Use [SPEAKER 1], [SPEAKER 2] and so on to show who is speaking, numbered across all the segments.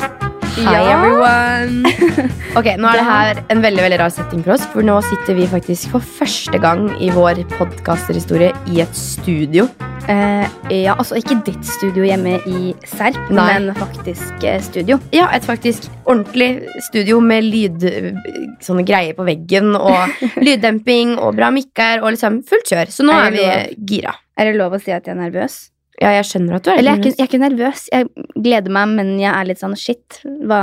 [SPEAKER 1] Hi,
[SPEAKER 2] Ja.
[SPEAKER 1] everyone.
[SPEAKER 2] Ok, Nå er det her en veldig veldig rar setting for oss, for nå sitter vi faktisk for første gang i vår podkasterhistorie i et studio.
[SPEAKER 1] Eh, ja, altså ikke ditt studio hjemme i Serp,
[SPEAKER 2] Nei.
[SPEAKER 1] men faktisk eh, studio.
[SPEAKER 2] Ja, et faktisk ordentlig studio med lyd Sånne greier på veggen og lyddemping og bra mikker og liksom fullt kjør. Så nå
[SPEAKER 1] Er
[SPEAKER 2] er
[SPEAKER 1] det
[SPEAKER 2] vi gira.
[SPEAKER 1] Er det lov å si at jeg er nervøs?
[SPEAKER 2] Ja, jeg skjønner at du er
[SPEAKER 1] Eller jeg er,
[SPEAKER 2] nervøs.
[SPEAKER 1] ikke, jeg er ikke nervøs. Jeg gleder meg, men jeg er litt sånn shit. Hva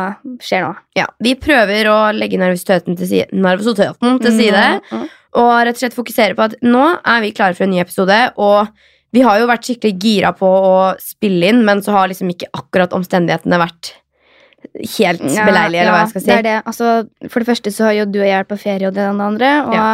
[SPEAKER 1] skjer nå?
[SPEAKER 2] Ja, vi prøver å legge nervøsiteten til side, nervøsiteten til side
[SPEAKER 1] Mm,
[SPEAKER 2] og rett og slett fokusere på at nå er vi klare for en ny episode. Og vi har jo vært skikkelig gira på å spille inn, men så har liksom ikke akkurat omstendighetene vært helt
[SPEAKER 1] Ja,
[SPEAKER 2] beleilige, eller hva
[SPEAKER 1] ja,
[SPEAKER 2] jeg skal
[SPEAKER 1] Det
[SPEAKER 2] si.
[SPEAKER 1] er det. Altså, for det første så har jo du og jeg vært på ferie og det ene og det andre. Og
[SPEAKER 2] Ja.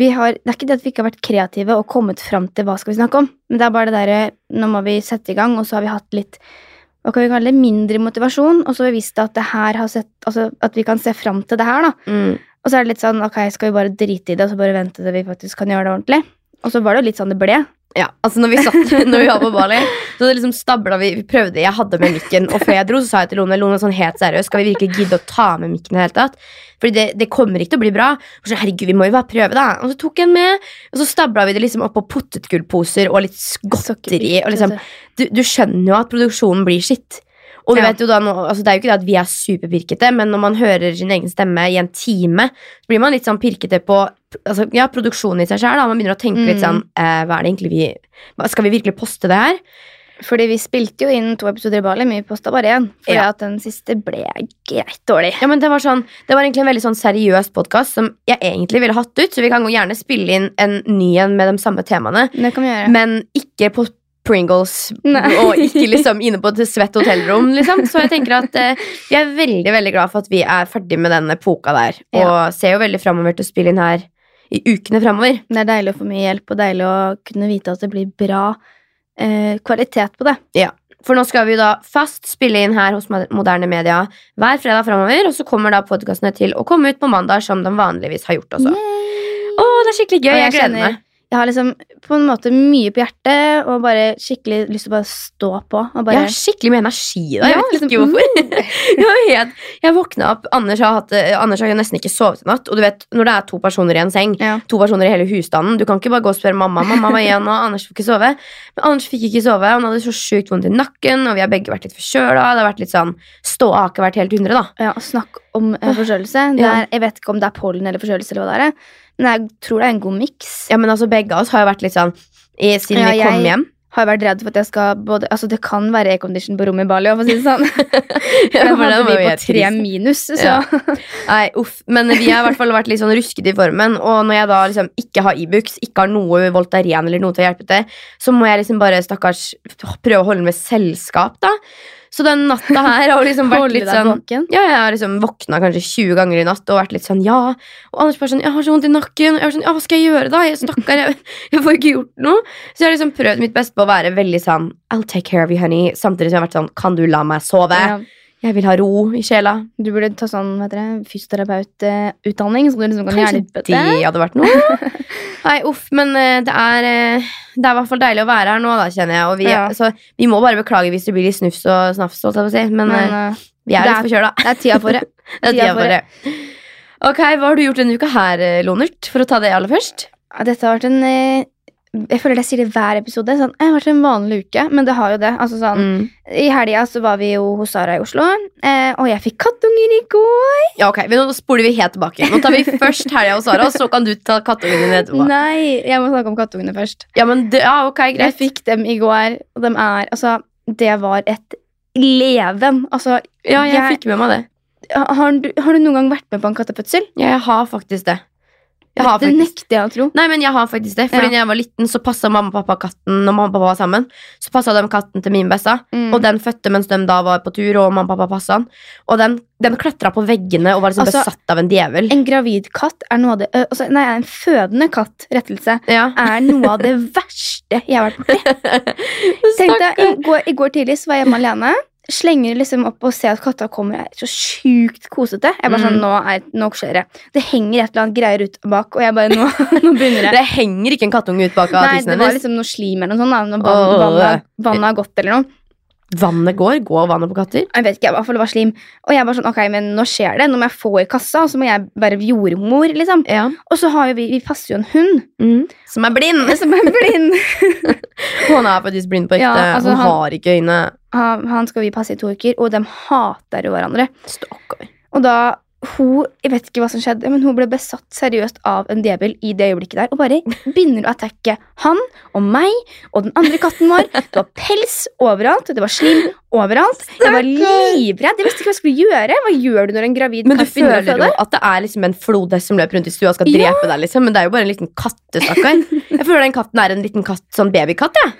[SPEAKER 1] vi har, det er ikke det at vi ikke har vært kreative og kommet fram til hva skal vi snakke om. Men det er bare det derre nå må vi sette i gang, og så har vi hatt litt hva kan vi kalle det, mindre motivasjon. Og så har vi visst at, det her har sett, altså, at vi kan se fram til det her. da.
[SPEAKER 2] Mm.
[SPEAKER 1] Og så er det litt sånn ok, skal vi bare drite i det og så bare vente til vi faktisk kan gjøre det ordentlig? Og så var det jo litt sånn det ble.
[SPEAKER 2] Ja, altså når vi satt Når vi var på Bali, så det liksom stabla vi. Vi prøvde, jeg hadde med mikken, og før jeg dro, så sa jeg til Lone Lone sånn helt seriøst, skal vi virkelig gidde å ta med mikken i det hele tatt? Fordi det, det kommer ikke til å bli bra. Og så, herregud, vi må jo bare prøve, da. Og så tok jeg den med, og så stabla vi det liksom opp på potetgullposer og litt godteri. Og liksom, du, du skjønner jo at produksjonen blir skitt. Og du
[SPEAKER 1] Ja.
[SPEAKER 2] vet jo da, nå, altså det er jo ikke det at vi er superpirkete, men når man hører sin egen stemme i en time, så blir man litt sånn pirkete på altså, ja, produksjonen i seg sjøl. Man begynner å tenke litt sånn
[SPEAKER 1] Mm.
[SPEAKER 2] eh, Hva er det egentlig vi hva- Skal vi virkelig poste det her?
[SPEAKER 1] Fordi vi spilte jo inn to episoder i Bali, men vi posta bare én. Fordi
[SPEAKER 2] Ja.
[SPEAKER 1] at den siste ble greit dårlig.
[SPEAKER 2] Ja, men Det var sånn, det var egentlig en veldig sånn seriøs podkast som jeg egentlig ville hatt ut, så vi kan jo gjerne spille inn en ny en med de samme temaene,
[SPEAKER 1] Det kan vi gjøre.
[SPEAKER 2] men ikke på Pringles
[SPEAKER 1] Nei.
[SPEAKER 2] og ikke liksom inne på et svett hotellrom, liksom. Så jeg tenker at eh, vi er veldig veldig glad for at vi er ferdig med den epoka der. Og ser jo veldig framover til å spille inn her i ukene framover.
[SPEAKER 1] Det er deilig å få mye hjelp, og deilig å kunne vite at det blir bra eh, kvalitet på det.
[SPEAKER 2] For nå skal vi jo da fast spille inn her hos Moderne Media hver fredag framover. Og så kommer da podkastene til å komme ut på mandag, som de vanligvis har gjort også. Å, det er skikkelig gøy!
[SPEAKER 1] Og jeg
[SPEAKER 2] Jeg, gleder
[SPEAKER 1] kjenner-
[SPEAKER 2] meg.
[SPEAKER 1] Jeg har liksom på en måte mye på hjertet, og bare skikkelig lyst til å bare stå på. Og bare,
[SPEAKER 2] Jeg har skikkelig mye energi i dag.
[SPEAKER 1] Ja,
[SPEAKER 2] jeg vet ikke
[SPEAKER 1] liksom,
[SPEAKER 2] hvorfor. Jeg, var helt, jeg våkna opp Anders har, hatt, det- Anders har jo nesten ikke sovet i natt. Og du vet, når det er to personer i en seng,
[SPEAKER 1] Ja.
[SPEAKER 2] to personer i hele husstanden Du kan ikke bare gå og spørre mamma Mamma hva igjen nå, Anders får ikke sove. Men Anders fikk ikke sove, han hadde så sjukt vondt i nakken, og vi har begge vært litt forkjøla. Det har vært litt sånn Ståa har ikke vært helt 100, da.
[SPEAKER 1] Ja, og snakk om eh, forkjølelse. Det
[SPEAKER 2] Ja.
[SPEAKER 1] er- Jeg vet ikke om det er pollen eller forkjølelse, eller hva det er, men jeg tror det er en god miks.
[SPEAKER 2] Ja, men altså, begge av oss har jo vært litt sånn i, Siden
[SPEAKER 1] Ja,
[SPEAKER 2] vi kom
[SPEAKER 1] jeg-
[SPEAKER 2] hjem.
[SPEAKER 1] Har vært redd for at jeg skal både, altså Det kan være aircondition på rommet i Bali. For å si det sånn. Den
[SPEAKER 2] for det
[SPEAKER 1] hadde
[SPEAKER 2] var
[SPEAKER 1] vi
[SPEAKER 2] jo
[SPEAKER 1] på
[SPEAKER 2] helt
[SPEAKER 1] tre
[SPEAKER 2] trist.
[SPEAKER 1] minus, så
[SPEAKER 2] Ja. Nei, uff. Men vi har i hvert fall vært litt sånn ruskete i formen. Og når jeg da liksom ikke har Ibux, ikke har noe Voltaren eller noe til å hjelpe til, så må jeg liksom bare stakkars prøve å holde med selskap, da. Så den natta her har liksom vært
[SPEAKER 1] holde
[SPEAKER 2] litt
[SPEAKER 1] deg
[SPEAKER 2] sånn
[SPEAKER 1] våken.
[SPEAKER 2] ja, jeg har liksom våkna kanskje 20 ganger i natt og vært litt sånn ja. Og Anders bare sånn, jeg har så vondt i nakken. Jeg var sånn, ja, Hva skal jeg gjøre, da? Jeg Stakkar, jeg, jeg får ikke gjort noe. Så jeg har liksom prøvd mitt beste på å være veldig sånn I'll take care of you, honey. Samtidig som jeg har vært sånn Kan du la meg sove?
[SPEAKER 1] Ja.
[SPEAKER 2] Jeg vil ha ro i sjela.
[SPEAKER 1] Du burde ta sånn hva heter det, fysioterapeututdanning, så du liksom kan
[SPEAKER 2] Kanskje
[SPEAKER 1] hjelpe
[SPEAKER 2] det
[SPEAKER 1] til.
[SPEAKER 2] hadde vært noe. Nei, uff, men eh, det er eh, Det er i hvert fall deilig å være her nå, da, kjenner jeg. Og vi,
[SPEAKER 1] Ja.
[SPEAKER 2] så, vi må bare beklage hvis det blir litt snufs og snafs, holdt jeg på å si. Men,
[SPEAKER 1] Men
[SPEAKER 2] eh,
[SPEAKER 1] eh,
[SPEAKER 2] vi er
[SPEAKER 1] det
[SPEAKER 2] litt
[SPEAKER 1] er-
[SPEAKER 2] forkjøla.
[SPEAKER 1] det er tida for det.
[SPEAKER 2] Det er
[SPEAKER 1] tida
[SPEAKER 2] tida
[SPEAKER 1] for
[SPEAKER 2] for det. Ok, hva har du gjort denne uka her, eh, Lonert? For å ta det aller først.
[SPEAKER 1] Ja, Dette har vært en eh, Jeg føler jeg sier det i hver episode. Sånn, det har vært en vanlig uke, men det har jo det. Altså, sånn,
[SPEAKER 2] Mm.
[SPEAKER 1] I helga så var vi jo hos Sara i Oslo, eh, og jeg fikk kattunger i går.
[SPEAKER 2] Ja, ok, men Nå spoler vi helt tilbake. Nå tar vi først helga hos Sara, og så kan du ta kattungen din etterpå.
[SPEAKER 1] Nei, jeg må snakke om kattungene først.
[SPEAKER 2] Ja, men det, ja, ok,
[SPEAKER 1] Jeg
[SPEAKER 2] greit.
[SPEAKER 1] fikk dem i går, og dem er Altså, det var et leven. Altså,
[SPEAKER 2] Ja, jeg,
[SPEAKER 1] jeg-
[SPEAKER 2] fikk med meg det.
[SPEAKER 1] har du, har du noen gang vært med på en kattefødsel?
[SPEAKER 2] Ja, jeg har faktisk det. Jeg har
[SPEAKER 1] det
[SPEAKER 2] faktisk
[SPEAKER 1] nekter jeg å tro.
[SPEAKER 2] Nei, men jeg har faktisk det. Fordi
[SPEAKER 1] Ja.
[SPEAKER 2] når jeg var liten, så passa mamma og pappa katten når mamma og pappa var sammen. Så passa de katten til min besta,
[SPEAKER 1] Mm.
[SPEAKER 2] og den fødte mens de da var på tur. Og mamma og pappa passet han Og den, den klatra på veggene og var liksom
[SPEAKER 1] Altså,
[SPEAKER 2] besatt av en djevel.
[SPEAKER 1] En gravid katt er noe av det ø, altså, Nei, en fødende katt, rettelse,
[SPEAKER 2] Ja.
[SPEAKER 1] er noe av det verste jeg har vært borti. Tenk deg,
[SPEAKER 2] mm,
[SPEAKER 1] i går, I går tidlig så var jeg hjemme alene. Slenger liksom opp og ser at katta kommer. Jeg er så sjukt kosete. Jeg er bare sånn,
[SPEAKER 2] Mm.
[SPEAKER 1] nå, er, nå skjer det. Det henger et eller annet greier ut bak, og jeg bare Nå, nå begynner det.
[SPEAKER 2] Det henger ikke en kattunge ut bak av
[SPEAKER 1] Nei,
[SPEAKER 2] tissen
[SPEAKER 1] det var
[SPEAKER 2] hennes.
[SPEAKER 1] liksom noe slim eller noe sånt. da, Når vann,
[SPEAKER 2] Åh.
[SPEAKER 1] vannet, vannet har gått eller noe.
[SPEAKER 2] Vannet går. Går vannet på katter?
[SPEAKER 1] Jeg vet ikke, jeg var, for det var slim. Og jeg bare sånn, ok, men nå skjer det. Nå må jeg få i kassa, og så må jeg være jordmor, liksom.
[SPEAKER 2] Ja.
[SPEAKER 1] Og så har jo vi, vi passer jo en hund
[SPEAKER 2] Mm. Som er blind!
[SPEAKER 1] som er blind.
[SPEAKER 2] Hun er faktisk blind på ekte.
[SPEAKER 1] Ja, altså,
[SPEAKER 2] hun
[SPEAKER 1] han-
[SPEAKER 2] har ikke øyne.
[SPEAKER 1] Han, han skal vi passe i to uker, og de hater jo hverandre.
[SPEAKER 2] Stakkar.
[SPEAKER 1] Og da hun, jeg vet ikke hva som skjedde, men hun ble besatt seriøst av en djevel i det øyeblikket der, og bare begynner å attacke han og meg og den andre katten vår. Det var pels overalt, og det var slim overalt. Jeg var livredd. Jeg visste ikke hva jeg skulle gjøre. Hva gjør du når en gravid
[SPEAKER 2] Men du
[SPEAKER 1] katt begynner å
[SPEAKER 2] føler jo
[SPEAKER 1] føde?
[SPEAKER 2] at det er liksom en flodhest som løper rundt i stua og skal
[SPEAKER 1] Ja.
[SPEAKER 2] drepe deg, liksom. Men det er jo bare en liten katte, stakkar. Jeg føler den katten er en liten katt, sånn babykatt, jeg.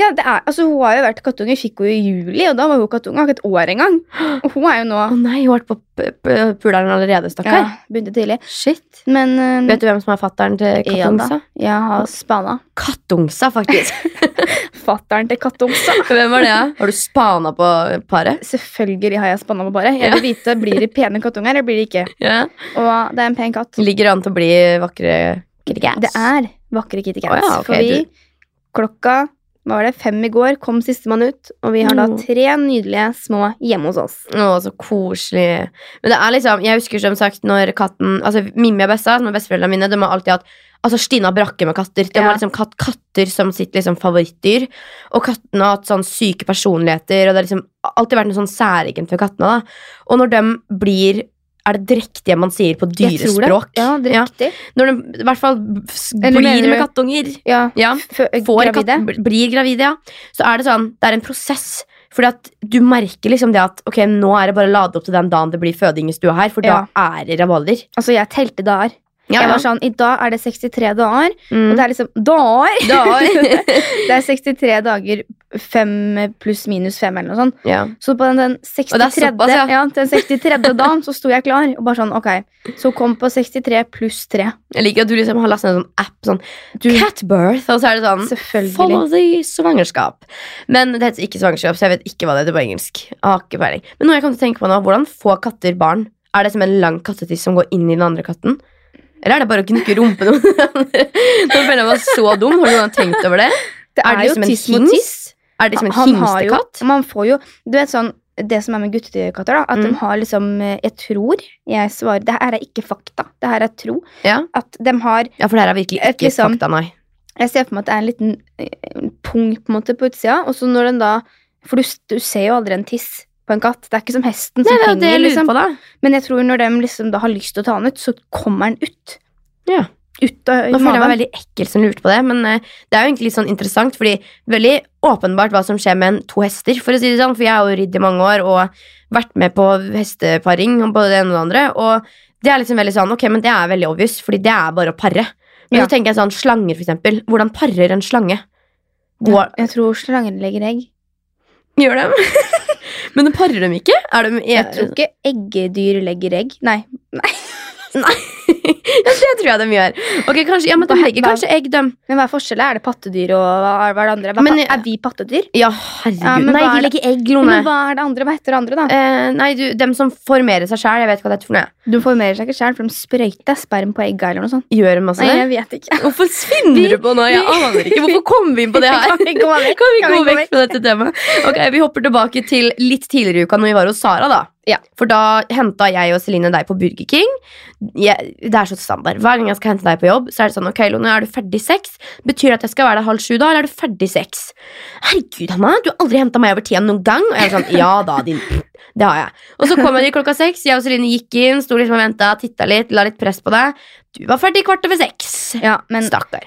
[SPEAKER 1] Ja, det er, altså Hun har jo vært kattunge, fikk hun i juli, og da var hun kattunge ikke et år engang. Og hun er jo nå
[SPEAKER 2] Å nei, hun har vært på p- p- puleren allerede,
[SPEAKER 1] ja,
[SPEAKER 2] stakkar.
[SPEAKER 1] begynte tidlig.
[SPEAKER 2] Shit.
[SPEAKER 1] Men eh,
[SPEAKER 2] Vet du hvem som er fatteren til
[SPEAKER 1] Ja da.
[SPEAKER 2] kattungsa?
[SPEAKER 1] jeg har spana.
[SPEAKER 2] Kattungsa, faktisk.
[SPEAKER 1] Fatteren til kattungsa.
[SPEAKER 2] hvem var det, da? Har du spana på paret?
[SPEAKER 1] Selvfølgelig har jeg spanna på bare. Jeg vil vite, Blir det pene kattunger, eller blir det ikke?
[SPEAKER 2] Ja.
[SPEAKER 1] Og det er en pen katt.
[SPEAKER 2] Ligger an til å bli vakre kitty cats.
[SPEAKER 1] Det er vakre Kitty Cats.
[SPEAKER 2] Å ja, ok,
[SPEAKER 1] for vi, klokka hva var det, fem i går kom sistemann ut, og vi har da
[SPEAKER 2] Mm.
[SPEAKER 1] tre nydelige små hjemme hos oss.
[SPEAKER 2] Å, så koselig. Men det er liksom, jeg husker som sagt når katten Altså Mimmi og Bessa, som er besteforeldrene mine, de har alltid hatt Altså Stina brakke med katter. De
[SPEAKER 1] Ja.
[SPEAKER 2] har liksom hatt katter som sitt liksom favorittdyr. Og kattene har hatt sånn syke personligheter, og det har liksom alltid vært noe sånn særegent for kattene. da Og når de blir Er det drektige man sier på
[SPEAKER 1] Jeg tror det.
[SPEAKER 2] dyrespråk?
[SPEAKER 1] Ja, det er riktig.
[SPEAKER 2] Når de i hvert fall s-
[SPEAKER 1] Eller
[SPEAKER 2] blir
[SPEAKER 1] mener
[SPEAKER 2] med
[SPEAKER 1] du-
[SPEAKER 2] kattunger.
[SPEAKER 1] Ja.
[SPEAKER 2] Eh, Ja
[SPEAKER 1] f- gravide.
[SPEAKER 2] får Katt, bl- blir gravide, ja. Så er det sånn, det er en prosess. Fordi at du merker liksom det at ok, nå er det bare å lade opp til den dagen det blir føding i stua her, for
[SPEAKER 1] Ja.
[SPEAKER 2] da er det rabalder.
[SPEAKER 1] Altså, jeg telte dager.
[SPEAKER 2] Ja,
[SPEAKER 1] Jeg var
[SPEAKER 2] ja.
[SPEAKER 1] sånn, I dag er det 63 dager, og
[SPEAKER 2] Mm.
[SPEAKER 1] det er liksom dager!
[SPEAKER 2] Da-
[SPEAKER 1] Det er 63 dager, fem pluss minus fem, eller noe sånt.
[SPEAKER 2] ja.
[SPEAKER 1] Så på den, den 63.
[SPEAKER 2] Og det er såpass, ja.
[SPEAKER 1] den 63. dagen så sto jeg klar. Og bare sånn, ok, Så kom på 63 pluss 3.
[SPEAKER 2] Jeg liker at du liksom har lastet ned en sånn app sånn
[SPEAKER 1] Du-
[SPEAKER 2] Catbirth, og så er det sånn
[SPEAKER 1] Selvfølgelig.
[SPEAKER 2] Follow the svangerskap. Men det heter ikke svangerskap, så jeg vet ikke hva det heter på engelsk. Jeg har ikke peiling. Men noe jeg kom til å tenke på nå, hvordan får katter barn? Er det som en lang kattetiss som går inn i den andre katten? Eller er det bare å knukke rumpen om den andre? Nå føler jeg meg så dum. Har du noen gang tenkt over det?
[SPEAKER 1] Det
[SPEAKER 2] Er det som en hingst? Er det som en
[SPEAKER 1] Han har jo,
[SPEAKER 2] hingstekatt?
[SPEAKER 1] man får jo Du vet sånn det som er med guttekatter, da, at de
[SPEAKER 2] Mm.
[SPEAKER 1] har liksom eh, Jeg tror jeg svarer Det her er ikke fakta, det her er tro.
[SPEAKER 2] Ja.
[SPEAKER 1] At de har
[SPEAKER 2] ja, for det her er virkelig
[SPEAKER 1] Et
[SPEAKER 2] ikke
[SPEAKER 1] liksom-
[SPEAKER 2] fakta, nei.
[SPEAKER 1] Jeg ser for meg at det er en liten eh, pung på en måte på utsida, og så når den da For du, s- du ser jo aldri en tiss på en katt. Det er ikke som hesten som
[SPEAKER 2] Nei, det er jo
[SPEAKER 1] henger.
[SPEAKER 2] det jeg lurer
[SPEAKER 1] liksom.
[SPEAKER 2] på, da.
[SPEAKER 1] Men jeg tror når de liksom da har lyst til å ta den ut, så kommer den ut.
[SPEAKER 2] Ja.
[SPEAKER 1] Ut av
[SPEAKER 2] Nå føler jeg meg
[SPEAKER 1] magen.
[SPEAKER 2] veldig ekkel som lurte på det, men eh, det er jo egentlig litt sånn interessant, fordi veldig åpenbart hva som skjer med en to hester, for å si det sånn, for jeg har jo ridd i mange år og vært med på hesteparing, og både det ene og det andre, og det er liksom veldig sånn, ok, men det er veldig obvious, fordi det er bare å parre. Men
[SPEAKER 1] Ja.
[SPEAKER 2] så tenker jeg sånn, slanger for eksempel, hvordan parrer en slange?
[SPEAKER 1] Ja,
[SPEAKER 2] Går,
[SPEAKER 1] Jeg tror slangen legger egg.
[SPEAKER 2] Gjør dem? men de parrer dem ikke? Er de,
[SPEAKER 1] Jeg tror ikke eggedyr legger egg. Nei.
[SPEAKER 2] ja, det tror jeg de gjør. Ok, kanskje, ja, men de
[SPEAKER 1] Hva-
[SPEAKER 2] legger
[SPEAKER 1] hva-
[SPEAKER 2] kanskje egg, de.
[SPEAKER 1] Men hva er forskjellen? Er det pattedyr og hva er hva er det andre? Hva,
[SPEAKER 2] Men-
[SPEAKER 1] pa- er vi pattedyr?
[SPEAKER 2] Ja, herregud.
[SPEAKER 1] Ja, men
[SPEAKER 2] nei,
[SPEAKER 1] hva
[SPEAKER 2] de
[SPEAKER 1] er det-
[SPEAKER 2] legger egg,
[SPEAKER 1] Ja,
[SPEAKER 2] Lone.
[SPEAKER 1] Men hva er det andre? Hva heter det andre, da?
[SPEAKER 2] Eh, nei, du, dem som formerer seg sjæl, jeg vet ikke hva det er for noe.
[SPEAKER 1] De formerer seg ikke sjøl, for de sprøyter sperm på egga eller noe sånt.
[SPEAKER 2] Gjør masse
[SPEAKER 1] Nei,
[SPEAKER 2] det.
[SPEAKER 1] jeg vet ikke.
[SPEAKER 2] Hvorfor finner
[SPEAKER 1] Vi-
[SPEAKER 2] du på noe? Jeg aner ikke. Hvorfor kom vi inn på det her?
[SPEAKER 1] Kan vi gå vekk?
[SPEAKER 2] Kan vi
[SPEAKER 1] Kan
[SPEAKER 2] gå vekk fra dette temaet? Ok, Vi hopper tilbake til litt tidligere i uka når vi var hos Sara. da
[SPEAKER 1] Ja.
[SPEAKER 2] For da henta jeg og Celine deg på Burger King. Jeg, det er så standard. Hver gang jeg skal hente deg på jobb, Så er det sånn Ok, Lone, er du ferdig seks? Betyr det at jeg skal være der halv sju da, eller er du ferdig seks? Herregud, Hanna, du har aldri henta meg over tida noen gang. Og jeg er sånn Ja da, din Det har jeg. Og så kom jeg dit klokka seks. Jeg og Celine gikk inn, sto liksom og venta, titta litt, la litt press på deg. Du var ferdig kvart over seks.
[SPEAKER 1] Ja, men,
[SPEAKER 2] Stakkar.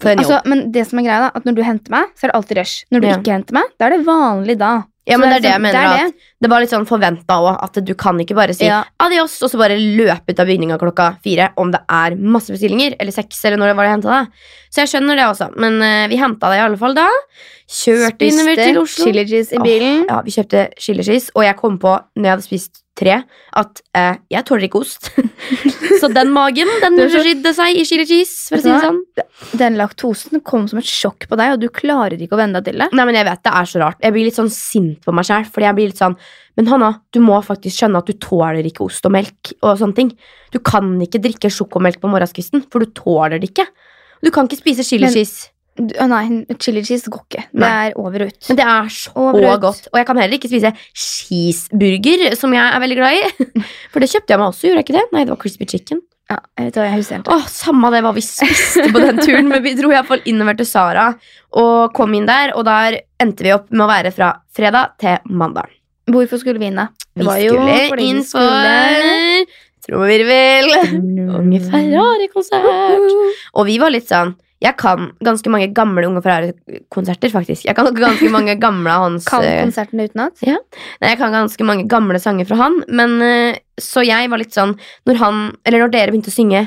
[SPEAKER 2] For en jobb.
[SPEAKER 1] altså, men det som er greia, da, at når du henter meg, så er det alltid rush. Når du
[SPEAKER 2] Ja.
[SPEAKER 1] ikke henter meg, da er det vanlig da.
[SPEAKER 2] Ja,
[SPEAKER 1] Så
[SPEAKER 2] men det er det jeg
[SPEAKER 1] liksom-
[SPEAKER 2] mener
[SPEAKER 1] det er
[SPEAKER 2] at Det var litt sånn forventa òg, at du kan ikke bare si
[SPEAKER 1] Ja.
[SPEAKER 2] adios og så bare løpe ut av bygninga klokka fire om det er masse bestillinger, eller seks, eller når det var det henta deg. Så jeg skjønner det også, men eh, vi henta deg i alle fall da. Kjørte innover til Oslo.
[SPEAKER 1] chili cheese i
[SPEAKER 2] Åh,
[SPEAKER 1] bilen.
[SPEAKER 2] Ja, vi kjøpte chili cheese, og jeg kom på når jeg hadde spist tre, at eh, jeg tåler ikke ost. så den magen, den
[SPEAKER 1] Det er så-
[SPEAKER 2] rydde seg i chili cheese, for å si det
[SPEAKER 1] Hva?
[SPEAKER 2] sånn.
[SPEAKER 1] Den laktosen kom som et sjokk på deg, og du klarer ikke å vende deg til det.
[SPEAKER 2] Nei, men jeg vet det er så rart. Jeg blir litt sånn sint på meg sjæl. Fordi jeg blir litt sånn Men Hanna, du må faktisk skjønne at du tåler ikke ost og melk og sånne ting. Du kan ikke drikke sjokomelk på morgenskvisten, for du tåler det ikke. Du kan ikke spise chili
[SPEAKER 1] Men-
[SPEAKER 2] cheese.
[SPEAKER 1] Du- å Nei, chili cheese går ikke. Det
[SPEAKER 2] Nei.
[SPEAKER 1] er over og ut.
[SPEAKER 2] Men det er så
[SPEAKER 1] Og brød.
[SPEAKER 2] godt. Og jeg kan heller ikke spise cheeseburger, som jeg er veldig glad i. For det kjøpte jeg meg også, gjorde jeg ikke det? Nei, det var crispy chicken.
[SPEAKER 1] Ja, jeg vet hva jeg husker helt.
[SPEAKER 2] Åh, Samme det hva vi spiste på den turen, men vi dro i hvert fall innover til Sara og kom inn der, og der endte vi opp med å være fra fredag til mandag.
[SPEAKER 1] Hvorfor skulle vi inn, da?
[SPEAKER 2] Vi
[SPEAKER 1] Det var jo
[SPEAKER 2] skulle
[SPEAKER 1] fordi vi
[SPEAKER 2] inn
[SPEAKER 1] skulle-
[SPEAKER 2] for trommevirvel og mye Ferrari-konsert. Og vi var litt sånn Jeg kan ganske mange gamle Unge Ferrari-konserter, faktisk. Jeg kan ganske mange gamle av hans
[SPEAKER 1] Kan
[SPEAKER 2] eh,
[SPEAKER 1] konserten utenat?
[SPEAKER 2] Nei, jeg kan ganske mange gamle sanger fra han, men eh, så jeg var litt sånn Når han, eller når dere begynte å synge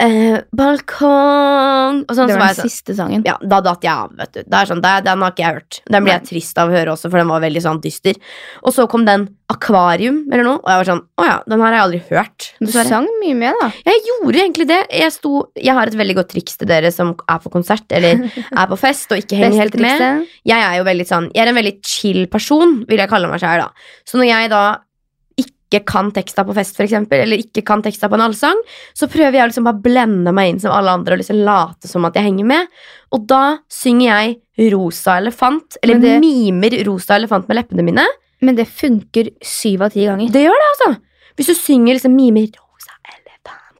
[SPEAKER 2] eh, Balkong og sånn,
[SPEAKER 1] Det
[SPEAKER 2] så
[SPEAKER 1] var
[SPEAKER 2] var jeg
[SPEAKER 1] den
[SPEAKER 2] sånn
[SPEAKER 1] siste sangen.
[SPEAKER 2] ja, Da datt jeg av, vet du. Det er sånn, det, Den har ikke jeg hørt. Den ble jeg trist av å høre også, for den var veldig sånn dyster. Og så kom den Akvarium eller noe, og jeg var sånn Å ja, den her har jeg aldri hørt.
[SPEAKER 1] Du
[SPEAKER 2] dessverre.»
[SPEAKER 1] sang mye med, da.
[SPEAKER 2] Jeg gjorde egentlig det. Jeg, sto, jeg har et veldig godt triks til dere som er på konsert eller er på fest og ikke henger helt med
[SPEAKER 1] trikset.
[SPEAKER 2] jeg er jo veldig sånn Jeg er en veldig chill person, vil jeg kalle meg sjøl, da. Så når jeg da ikke kan teksta på fest, for eksempel, eller ikke kan teksta på en allsang, så prøver jeg å liksom bare blende meg inn som alle andre og liksom late som at jeg henger med. Og da synger jeg Rosa elefant, eller
[SPEAKER 1] Men det-
[SPEAKER 2] mimer Rosa elefant med leppene mine.
[SPEAKER 1] Men det funker syv av ti ganger.
[SPEAKER 2] Det gjør det, altså! Hvis du synger liksom mimer Rosa elefant,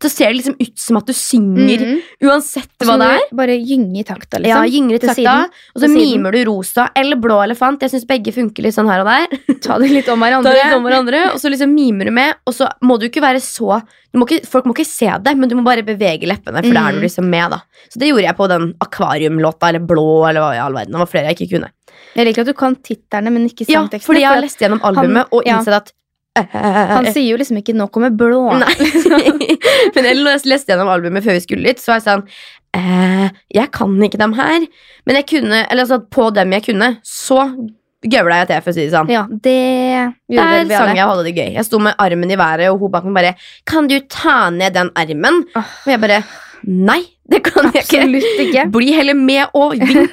[SPEAKER 2] så ser det liksom ut som at du synger,
[SPEAKER 1] Mhm.
[SPEAKER 2] uansett hva
[SPEAKER 1] Så
[SPEAKER 2] det er.
[SPEAKER 1] du Bare gynge i takta, liksom.
[SPEAKER 2] Ja, gyngret
[SPEAKER 1] Til
[SPEAKER 2] sakta,
[SPEAKER 1] siden.
[SPEAKER 2] og så
[SPEAKER 1] Til siden.
[SPEAKER 2] mimer du rosa eller blå elefant. Jeg syns begge funker litt sånn her og der.
[SPEAKER 1] Ta det litt om
[SPEAKER 2] Ta
[SPEAKER 1] hverandre.
[SPEAKER 2] litt om hverandre, og så liksom mimer du med. Og så må du ikke være så du må ikke, Folk må ikke se det, men du må bare bevege leppene. For da er
[SPEAKER 1] Mm.
[SPEAKER 2] du liksom med da Så det gjorde jeg på den akvariumlåta, eller blå, eller hva i all verden. Det var flere jeg ikke kunne.
[SPEAKER 1] Jeg liker at du kan titterne, men ikke
[SPEAKER 2] Ja,
[SPEAKER 1] sangtekstene.
[SPEAKER 2] fordi jeg har
[SPEAKER 1] for at
[SPEAKER 2] lest gjennom albumet og
[SPEAKER 1] ja.
[SPEAKER 2] innsett at
[SPEAKER 1] han sier jo liksom ikke 'nå kommer blå'.
[SPEAKER 2] Nei. Men eller når jeg leste gjennom albumet før vi skulle dit, så var jeg sånn eh, Jeg kan ikke dem her. Men jeg kunne, eller altså på dem jeg kunne, så gøvla jeg til, for å si det sånn.
[SPEAKER 1] Ja, det gjorde
[SPEAKER 2] Der
[SPEAKER 1] vel vi
[SPEAKER 2] sang
[SPEAKER 1] alle.
[SPEAKER 2] jeg og hadde det gøy. Jeg sto med armen i været, og hun bak meg bare 'Kan du ta ned den armen?'
[SPEAKER 1] Åh.
[SPEAKER 2] Og jeg bare 'Nei, det kan jeg ikke'.
[SPEAKER 1] Absolutt ikke.
[SPEAKER 2] Bli heller med og vink.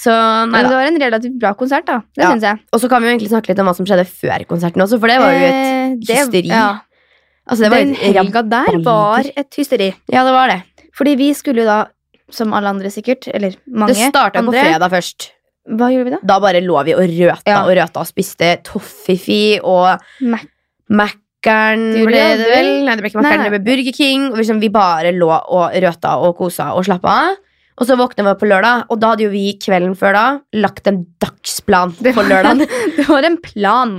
[SPEAKER 2] Så nei
[SPEAKER 1] Men det
[SPEAKER 2] da.
[SPEAKER 1] var en relativt bra konsert, da. Det
[SPEAKER 2] Ja.
[SPEAKER 1] synes syns jeg.
[SPEAKER 2] Og så kan vi jo egentlig snakke litt om hva som skjedde før konserten også, for det var jo et
[SPEAKER 1] Eh, det-
[SPEAKER 2] hysteri.
[SPEAKER 1] Ja.
[SPEAKER 2] Altså, det var
[SPEAKER 1] Den
[SPEAKER 2] et ram...
[SPEAKER 1] helga der var et hysteri.
[SPEAKER 2] Ja, det var det.
[SPEAKER 1] Fordi vi skulle jo da, som alle andre sikkert, eller mange
[SPEAKER 2] Det starta på
[SPEAKER 1] andre
[SPEAKER 2] fredag først.
[SPEAKER 1] Hva gjorde vi da?
[SPEAKER 2] Da bare lå vi og røta
[SPEAKER 1] Ja.
[SPEAKER 2] og røta og spiste toffifi og
[SPEAKER 1] Mac
[SPEAKER 2] Mækkern
[SPEAKER 1] Det gjorde
[SPEAKER 2] ble
[SPEAKER 1] jeg
[SPEAKER 2] det
[SPEAKER 1] aldri.
[SPEAKER 2] vel? Nei, det ble ikke Mækkern,
[SPEAKER 1] Nei.
[SPEAKER 2] det ble Burger King. Og liksom, vi bare lå og røta og kosa og slappa av. Og så våkna vi opp på lørdag, og da hadde jo vi kvelden før da lagt en dagsplan
[SPEAKER 1] Det
[SPEAKER 2] på
[SPEAKER 1] var-
[SPEAKER 2] lørdagen.
[SPEAKER 1] Det var en plan.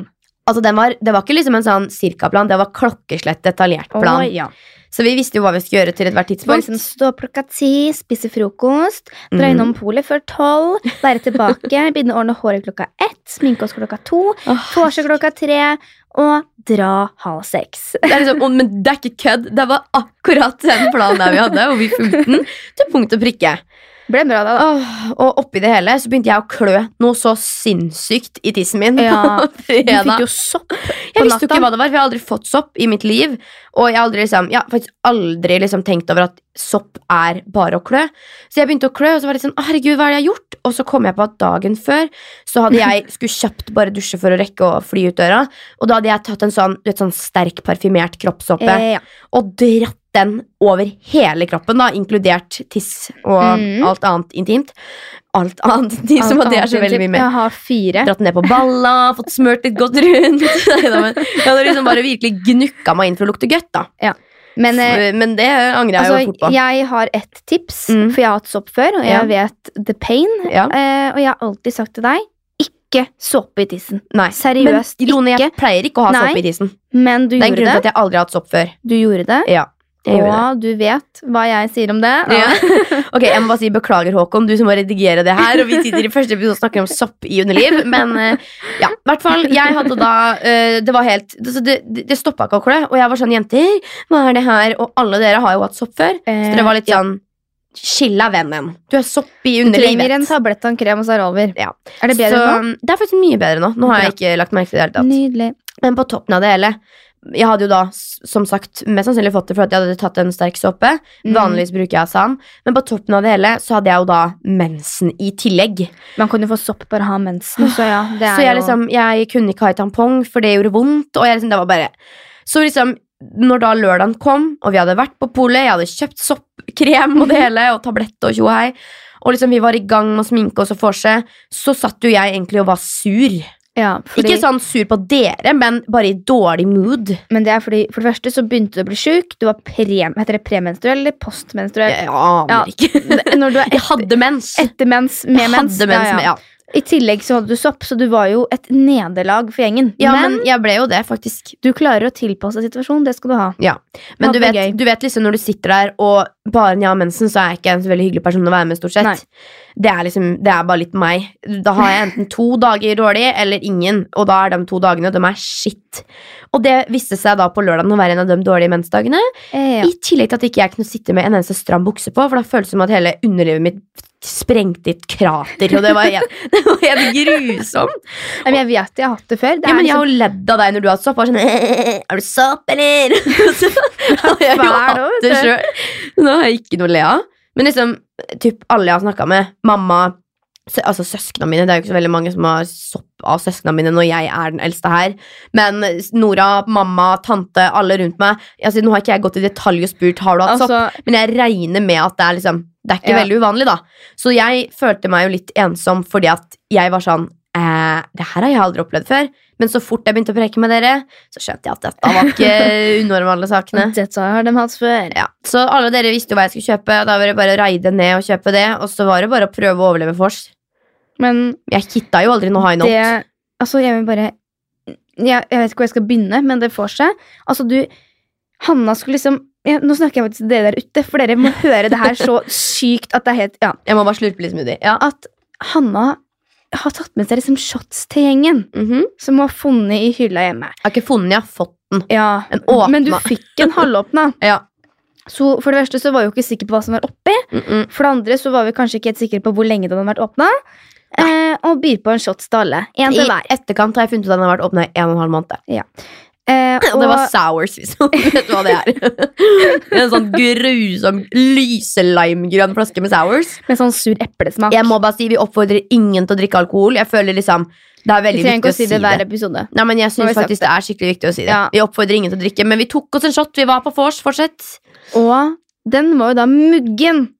[SPEAKER 2] Altså, den var, det var ikke liksom en sånn cirka-plan, det var klokkeslett detaljert plan.
[SPEAKER 1] Å, ja.
[SPEAKER 2] Så vi visste jo hva vi skulle gjøre til ethvert
[SPEAKER 1] Det var
[SPEAKER 2] tidspunkt.
[SPEAKER 1] liksom Stå opp klokka ti, spise frokost, dra
[SPEAKER 2] Mm.
[SPEAKER 1] innom polet før tolv, være tilbake, begynne å ordne håret klokka ett, sminke oss klokka to,
[SPEAKER 2] Åh,
[SPEAKER 1] vorse klokka tre og dra halv seks.
[SPEAKER 2] det er liksom, og- men det er ikke kødd. Det var akkurat den planen der vi hadde, og vi fulgte den til punkt og prikke.
[SPEAKER 1] Ble bra, da. da.
[SPEAKER 2] Åh, og oppi det hele så begynte jeg å klø noe så sinnssykt i tissen min.
[SPEAKER 1] Ja,
[SPEAKER 2] på
[SPEAKER 1] Du
[SPEAKER 2] fredag.
[SPEAKER 1] fikk jo sopp på
[SPEAKER 2] Jeg visste jo
[SPEAKER 1] natta.
[SPEAKER 2] ikke hva det var, for jeg har aldri fått sopp i mitt liv. Og jeg har aldri, liksom, jeg har faktisk aldri liksom tenkt over at sopp er bare å klø. Så jeg begynte å klø, og så var det sånn, «Å, herregud, hva er det jeg har gjort? Og så kom jeg på at dagen før så hadde jeg skulle kjapt bare dusje for å rekke å fly ut døra. Og da hadde jeg tatt en sånn, du vet, sånn sterk parfymert kroppssoppe
[SPEAKER 1] Eh, ja.
[SPEAKER 2] og dratt den over hele kroppen, da, inkludert tiss og
[SPEAKER 1] Mm.
[SPEAKER 2] alt annet intimt. Alt annet intimt, som
[SPEAKER 1] Alt
[SPEAKER 2] at det er så
[SPEAKER 1] annet
[SPEAKER 2] veldig
[SPEAKER 1] enn
[SPEAKER 2] mye
[SPEAKER 1] typ,
[SPEAKER 2] mer
[SPEAKER 1] Jeg har fire.
[SPEAKER 2] dratt den ned på balla, fått smørt litt godt rundt. Neida, men jeg hadde liksom bare virkelig gnukka meg inn for å lukte godt, da.
[SPEAKER 1] Men eh,
[SPEAKER 2] Men det angrer jeg jo fort
[SPEAKER 1] altså,
[SPEAKER 2] på.
[SPEAKER 1] jeg har ett tips,
[SPEAKER 2] Mm.
[SPEAKER 1] for jeg har hatt sopp før, og jeg
[SPEAKER 2] Ja.
[SPEAKER 1] vet the pain.
[SPEAKER 2] Ja.
[SPEAKER 1] Eh, og jeg har alltid sagt til deg ikke såpe i tissen.
[SPEAKER 2] Nei. Men
[SPEAKER 1] Seriøst,
[SPEAKER 2] Lone, jeg
[SPEAKER 1] ikke.
[SPEAKER 2] pleier ikke å ha
[SPEAKER 1] Nei.
[SPEAKER 2] sopp i tissen.
[SPEAKER 1] Men du
[SPEAKER 2] Det er en
[SPEAKER 1] gjorde det.
[SPEAKER 2] grunn til at jeg aldri har hatt sopp før.
[SPEAKER 1] Du gjorde det.
[SPEAKER 2] Ja, jeg gjorde det.
[SPEAKER 1] og du vet hva jeg sier om det.
[SPEAKER 2] Ja. Ok, Jeg må bare si beklager, Håkon, du som må redigere det her. Og vi sitter i første episode og snakker om sopp i underliv. Men eh, ja, i hvert fall. Jeg hadde da eh, Det var helt Det, det, det stoppa ikke å klø. Og jeg var sånn, jenter, hva er det her? Og alle dere har jo hatt sopp før.
[SPEAKER 1] Eh,
[SPEAKER 2] Så det var litt sånn Chill av vennen. Du har sopp i
[SPEAKER 1] du trenger en
[SPEAKER 2] underlivet.
[SPEAKER 1] tablett og en krem, og så er det over.
[SPEAKER 2] Ja.
[SPEAKER 1] Er det bedre
[SPEAKER 2] så, Det er faktisk mye bedre nå. Nå har jeg ikke lagt merke til det i det
[SPEAKER 1] nå?
[SPEAKER 2] hele tatt.
[SPEAKER 1] Nydelig.
[SPEAKER 2] Men på toppen av det hele Jeg hadde jo da s- som sagt mest sannsynlig fått det for at jeg hadde tatt en sterk såpe.
[SPEAKER 1] Mm.
[SPEAKER 2] Vanligvis bruker jeg sand, men på toppen av det hele så hadde jeg jo da mensen i tillegg.
[SPEAKER 1] Man kan jo få sopp bare av å ha mensen, så ja. Det er
[SPEAKER 2] Så jeg
[SPEAKER 1] jo
[SPEAKER 2] liksom, jeg kunne ikke ha i tampong, for det gjorde vondt. Og jeg liksom, det var bare Så liksom, når da lørdagen kom, og vi hadde vært på polet, jeg hadde kjøpt soppkrem og det hele, og tablett og tjo og hei, og liksom vi var i gang med å sminke oss og vorse, så satt jo jeg egentlig og var sur.
[SPEAKER 1] Ja, fordi,
[SPEAKER 2] Ikke sånn sur på dere, men bare i dårlig mood.
[SPEAKER 1] Men det er fordi, for det første så begynte du å bli sjuk. Du var pre, heter det premenstruell eller postmenstruell?
[SPEAKER 2] Jeg aner
[SPEAKER 1] Ja.
[SPEAKER 2] ikke.
[SPEAKER 1] Når du er
[SPEAKER 2] Eh, Jeg hadde mens.
[SPEAKER 1] etter mens, med
[SPEAKER 2] jeg
[SPEAKER 1] mens.
[SPEAKER 2] hadde mens
[SPEAKER 1] ja,
[SPEAKER 2] med,
[SPEAKER 1] ja.
[SPEAKER 2] ja.
[SPEAKER 1] I tillegg så hadde du sopp, så du var jo et nederlag for gjengen.
[SPEAKER 2] ja,
[SPEAKER 1] men,
[SPEAKER 2] men jeg ble jo det, faktisk.
[SPEAKER 1] du klarer å tilpasse situasjonen. Det skal du ha.
[SPEAKER 2] Men du
[SPEAKER 1] Hadde det
[SPEAKER 2] vet,
[SPEAKER 1] gøy.
[SPEAKER 2] du vet liksom når du sitter der, og bare når jeg har mensen, så er jeg ikke en så veldig hyggelig person å være med. stort
[SPEAKER 1] Nei.
[SPEAKER 2] sett. Det er liksom, det er bare litt meg. Da har jeg enten to dager dårlig eller ingen, og da er de to dagene de er shit. Og det viste seg da på lørdagen å være en av de dårlige mensdagene.
[SPEAKER 1] Eh, ja.
[SPEAKER 2] I tillegg til at ikke jeg kunne sitte med en eneste stram bukse på, for da føltes det som at hele underlivet mitt sprengte i et krater, og det var helt, det var helt grusomt.
[SPEAKER 1] Men jeg vet jeg har hatt det før. Det
[SPEAKER 2] ja,
[SPEAKER 1] er
[SPEAKER 2] men Jeg
[SPEAKER 1] liksom
[SPEAKER 2] har jo ledd av deg når du har hatt sopp. og Sånn, er du sopp, eller? Og så- og jeg
[SPEAKER 1] Hva er
[SPEAKER 2] har jo
[SPEAKER 1] det,
[SPEAKER 2] hatt
[SPEAKER 1] vet
[SPEAKER 2] det
[SPEAKER 1] du?
[SPEAKER 2] selv. Nå har jeg ikke noe å le av. Men liksom, typ alle jeg har snakka med, mamma sø Altså søsknene mine. Det er jo ikke så veldig mange som har sopp av søsknene mine når jeg er den eldste her. Men Nora, mamma, tante, alle rundt meg altså, Nå har ikke jeg gått i detalj og spurt har du hatt sopp,
[SPEAKER 1] altså,
[SPEAKER 2] men jeg regner med at det er liksom Det er ikke
[SPEAKER 1] Ja.
[SPEAKER 2] veldig uvanlig, da. Så jeg følte meg jo litt ensom fordi at jeg var sånn eh, Det her har jeg aldri opplevd før. Men så fort jeg begynte å preke med dere, så skjønte jeg at dette var ikke unormale sakene.
[SPEAKER 1] Dette har de hatt før.
[SPEAKER 2] Ja. Så alle dere visste jo hva jeg skulle kjøpe, og da var det bare å raide ned og kjøpe det. Og så var det bare å prøve å overleve vors.
[SPEAKER 1] Men
[SPEAKER 2] Jeg kitta jo aldri noe high
[SPEAKER 1] det
[SPEAKER 2] note.
[SPEAKER 1] Altså, jeg vil bare jeg, jeg vet ikke hvor jeg skal begynne, men det får seg. Altså, du Hanna skulle liksom ja, Nå snakker jeg faktisk til dere der ute, for dere må høre det her så sykt at det er helt Ja.
[SPEAKER 2] Jeg må bare slurpe litt smoothie. Ja.
[SPEAKER 1] At Hanna har tatt med seg liksom shots til gjengen,
[SPEAKER 2] Mhm.
[SPEAKER 1] som hun har funnet i hylla hjemme.
[SPEAKER 2] Jeg har ikke funnet den, jeg har fått den.
[SPEAKER 1] Ja,
[SPEAKER 2] En åpna.
[SPEAKER 1] Men du fikk en halvåpna.
[SPEAKER 2] Ja.
[SPEAKER 1] Så for det verste så var vi jo ikke sikre på hva som var oppi.
[SPEAKER 2] Mm -mm.
[SPEAKER 1] For det andre så var vi kanskje ikke helt sikre på hvor lenge den hadde vært åpna. Eh, og byr på en shots til alle. En til
[SPEAKER 2] I
[SPEAKER 1] hver.
[SPEAKER 2] etterkant har jeg funnet ut at den har vært åpna i en og en halv måned.
[SPEAKER 1] Eh,
[SPEAKER 2] Og det var sours, hvis du vet hva det er. En sånn grusom lyselimegrønn flaske med sours.
[SPEAKER 1] Med sånn sur eplesmak.
[SPEAKER 2] Jeg må bare si, Vi oppfordrer ingen til å drikke alkohol. Jeg føler liksom, Det er
[SPEAKER 1] vi
[SPEAKER 2] veldig
[SPEAKER 1] trenger ikke
[SPEAKER 2] viktig
[SPEAKER 1] å si det hver episode.
[SPEAKER 2] Nei, men jeg
[SPEAKER 1] Nå har vi
[SPEAKER 2] synes
[SPEAKER 1] sagt
[SPEAKER 2] faktisk det er skikkelig viktig å si det.
[SPEAKER 1] Ja.
[SPEAKER 2] Vi oppfordrer ingen til å drikke, men vi tok oss en shot. Vi var på vors. Fortsett.
[SPEAKER 1] Og den var jo da muggen.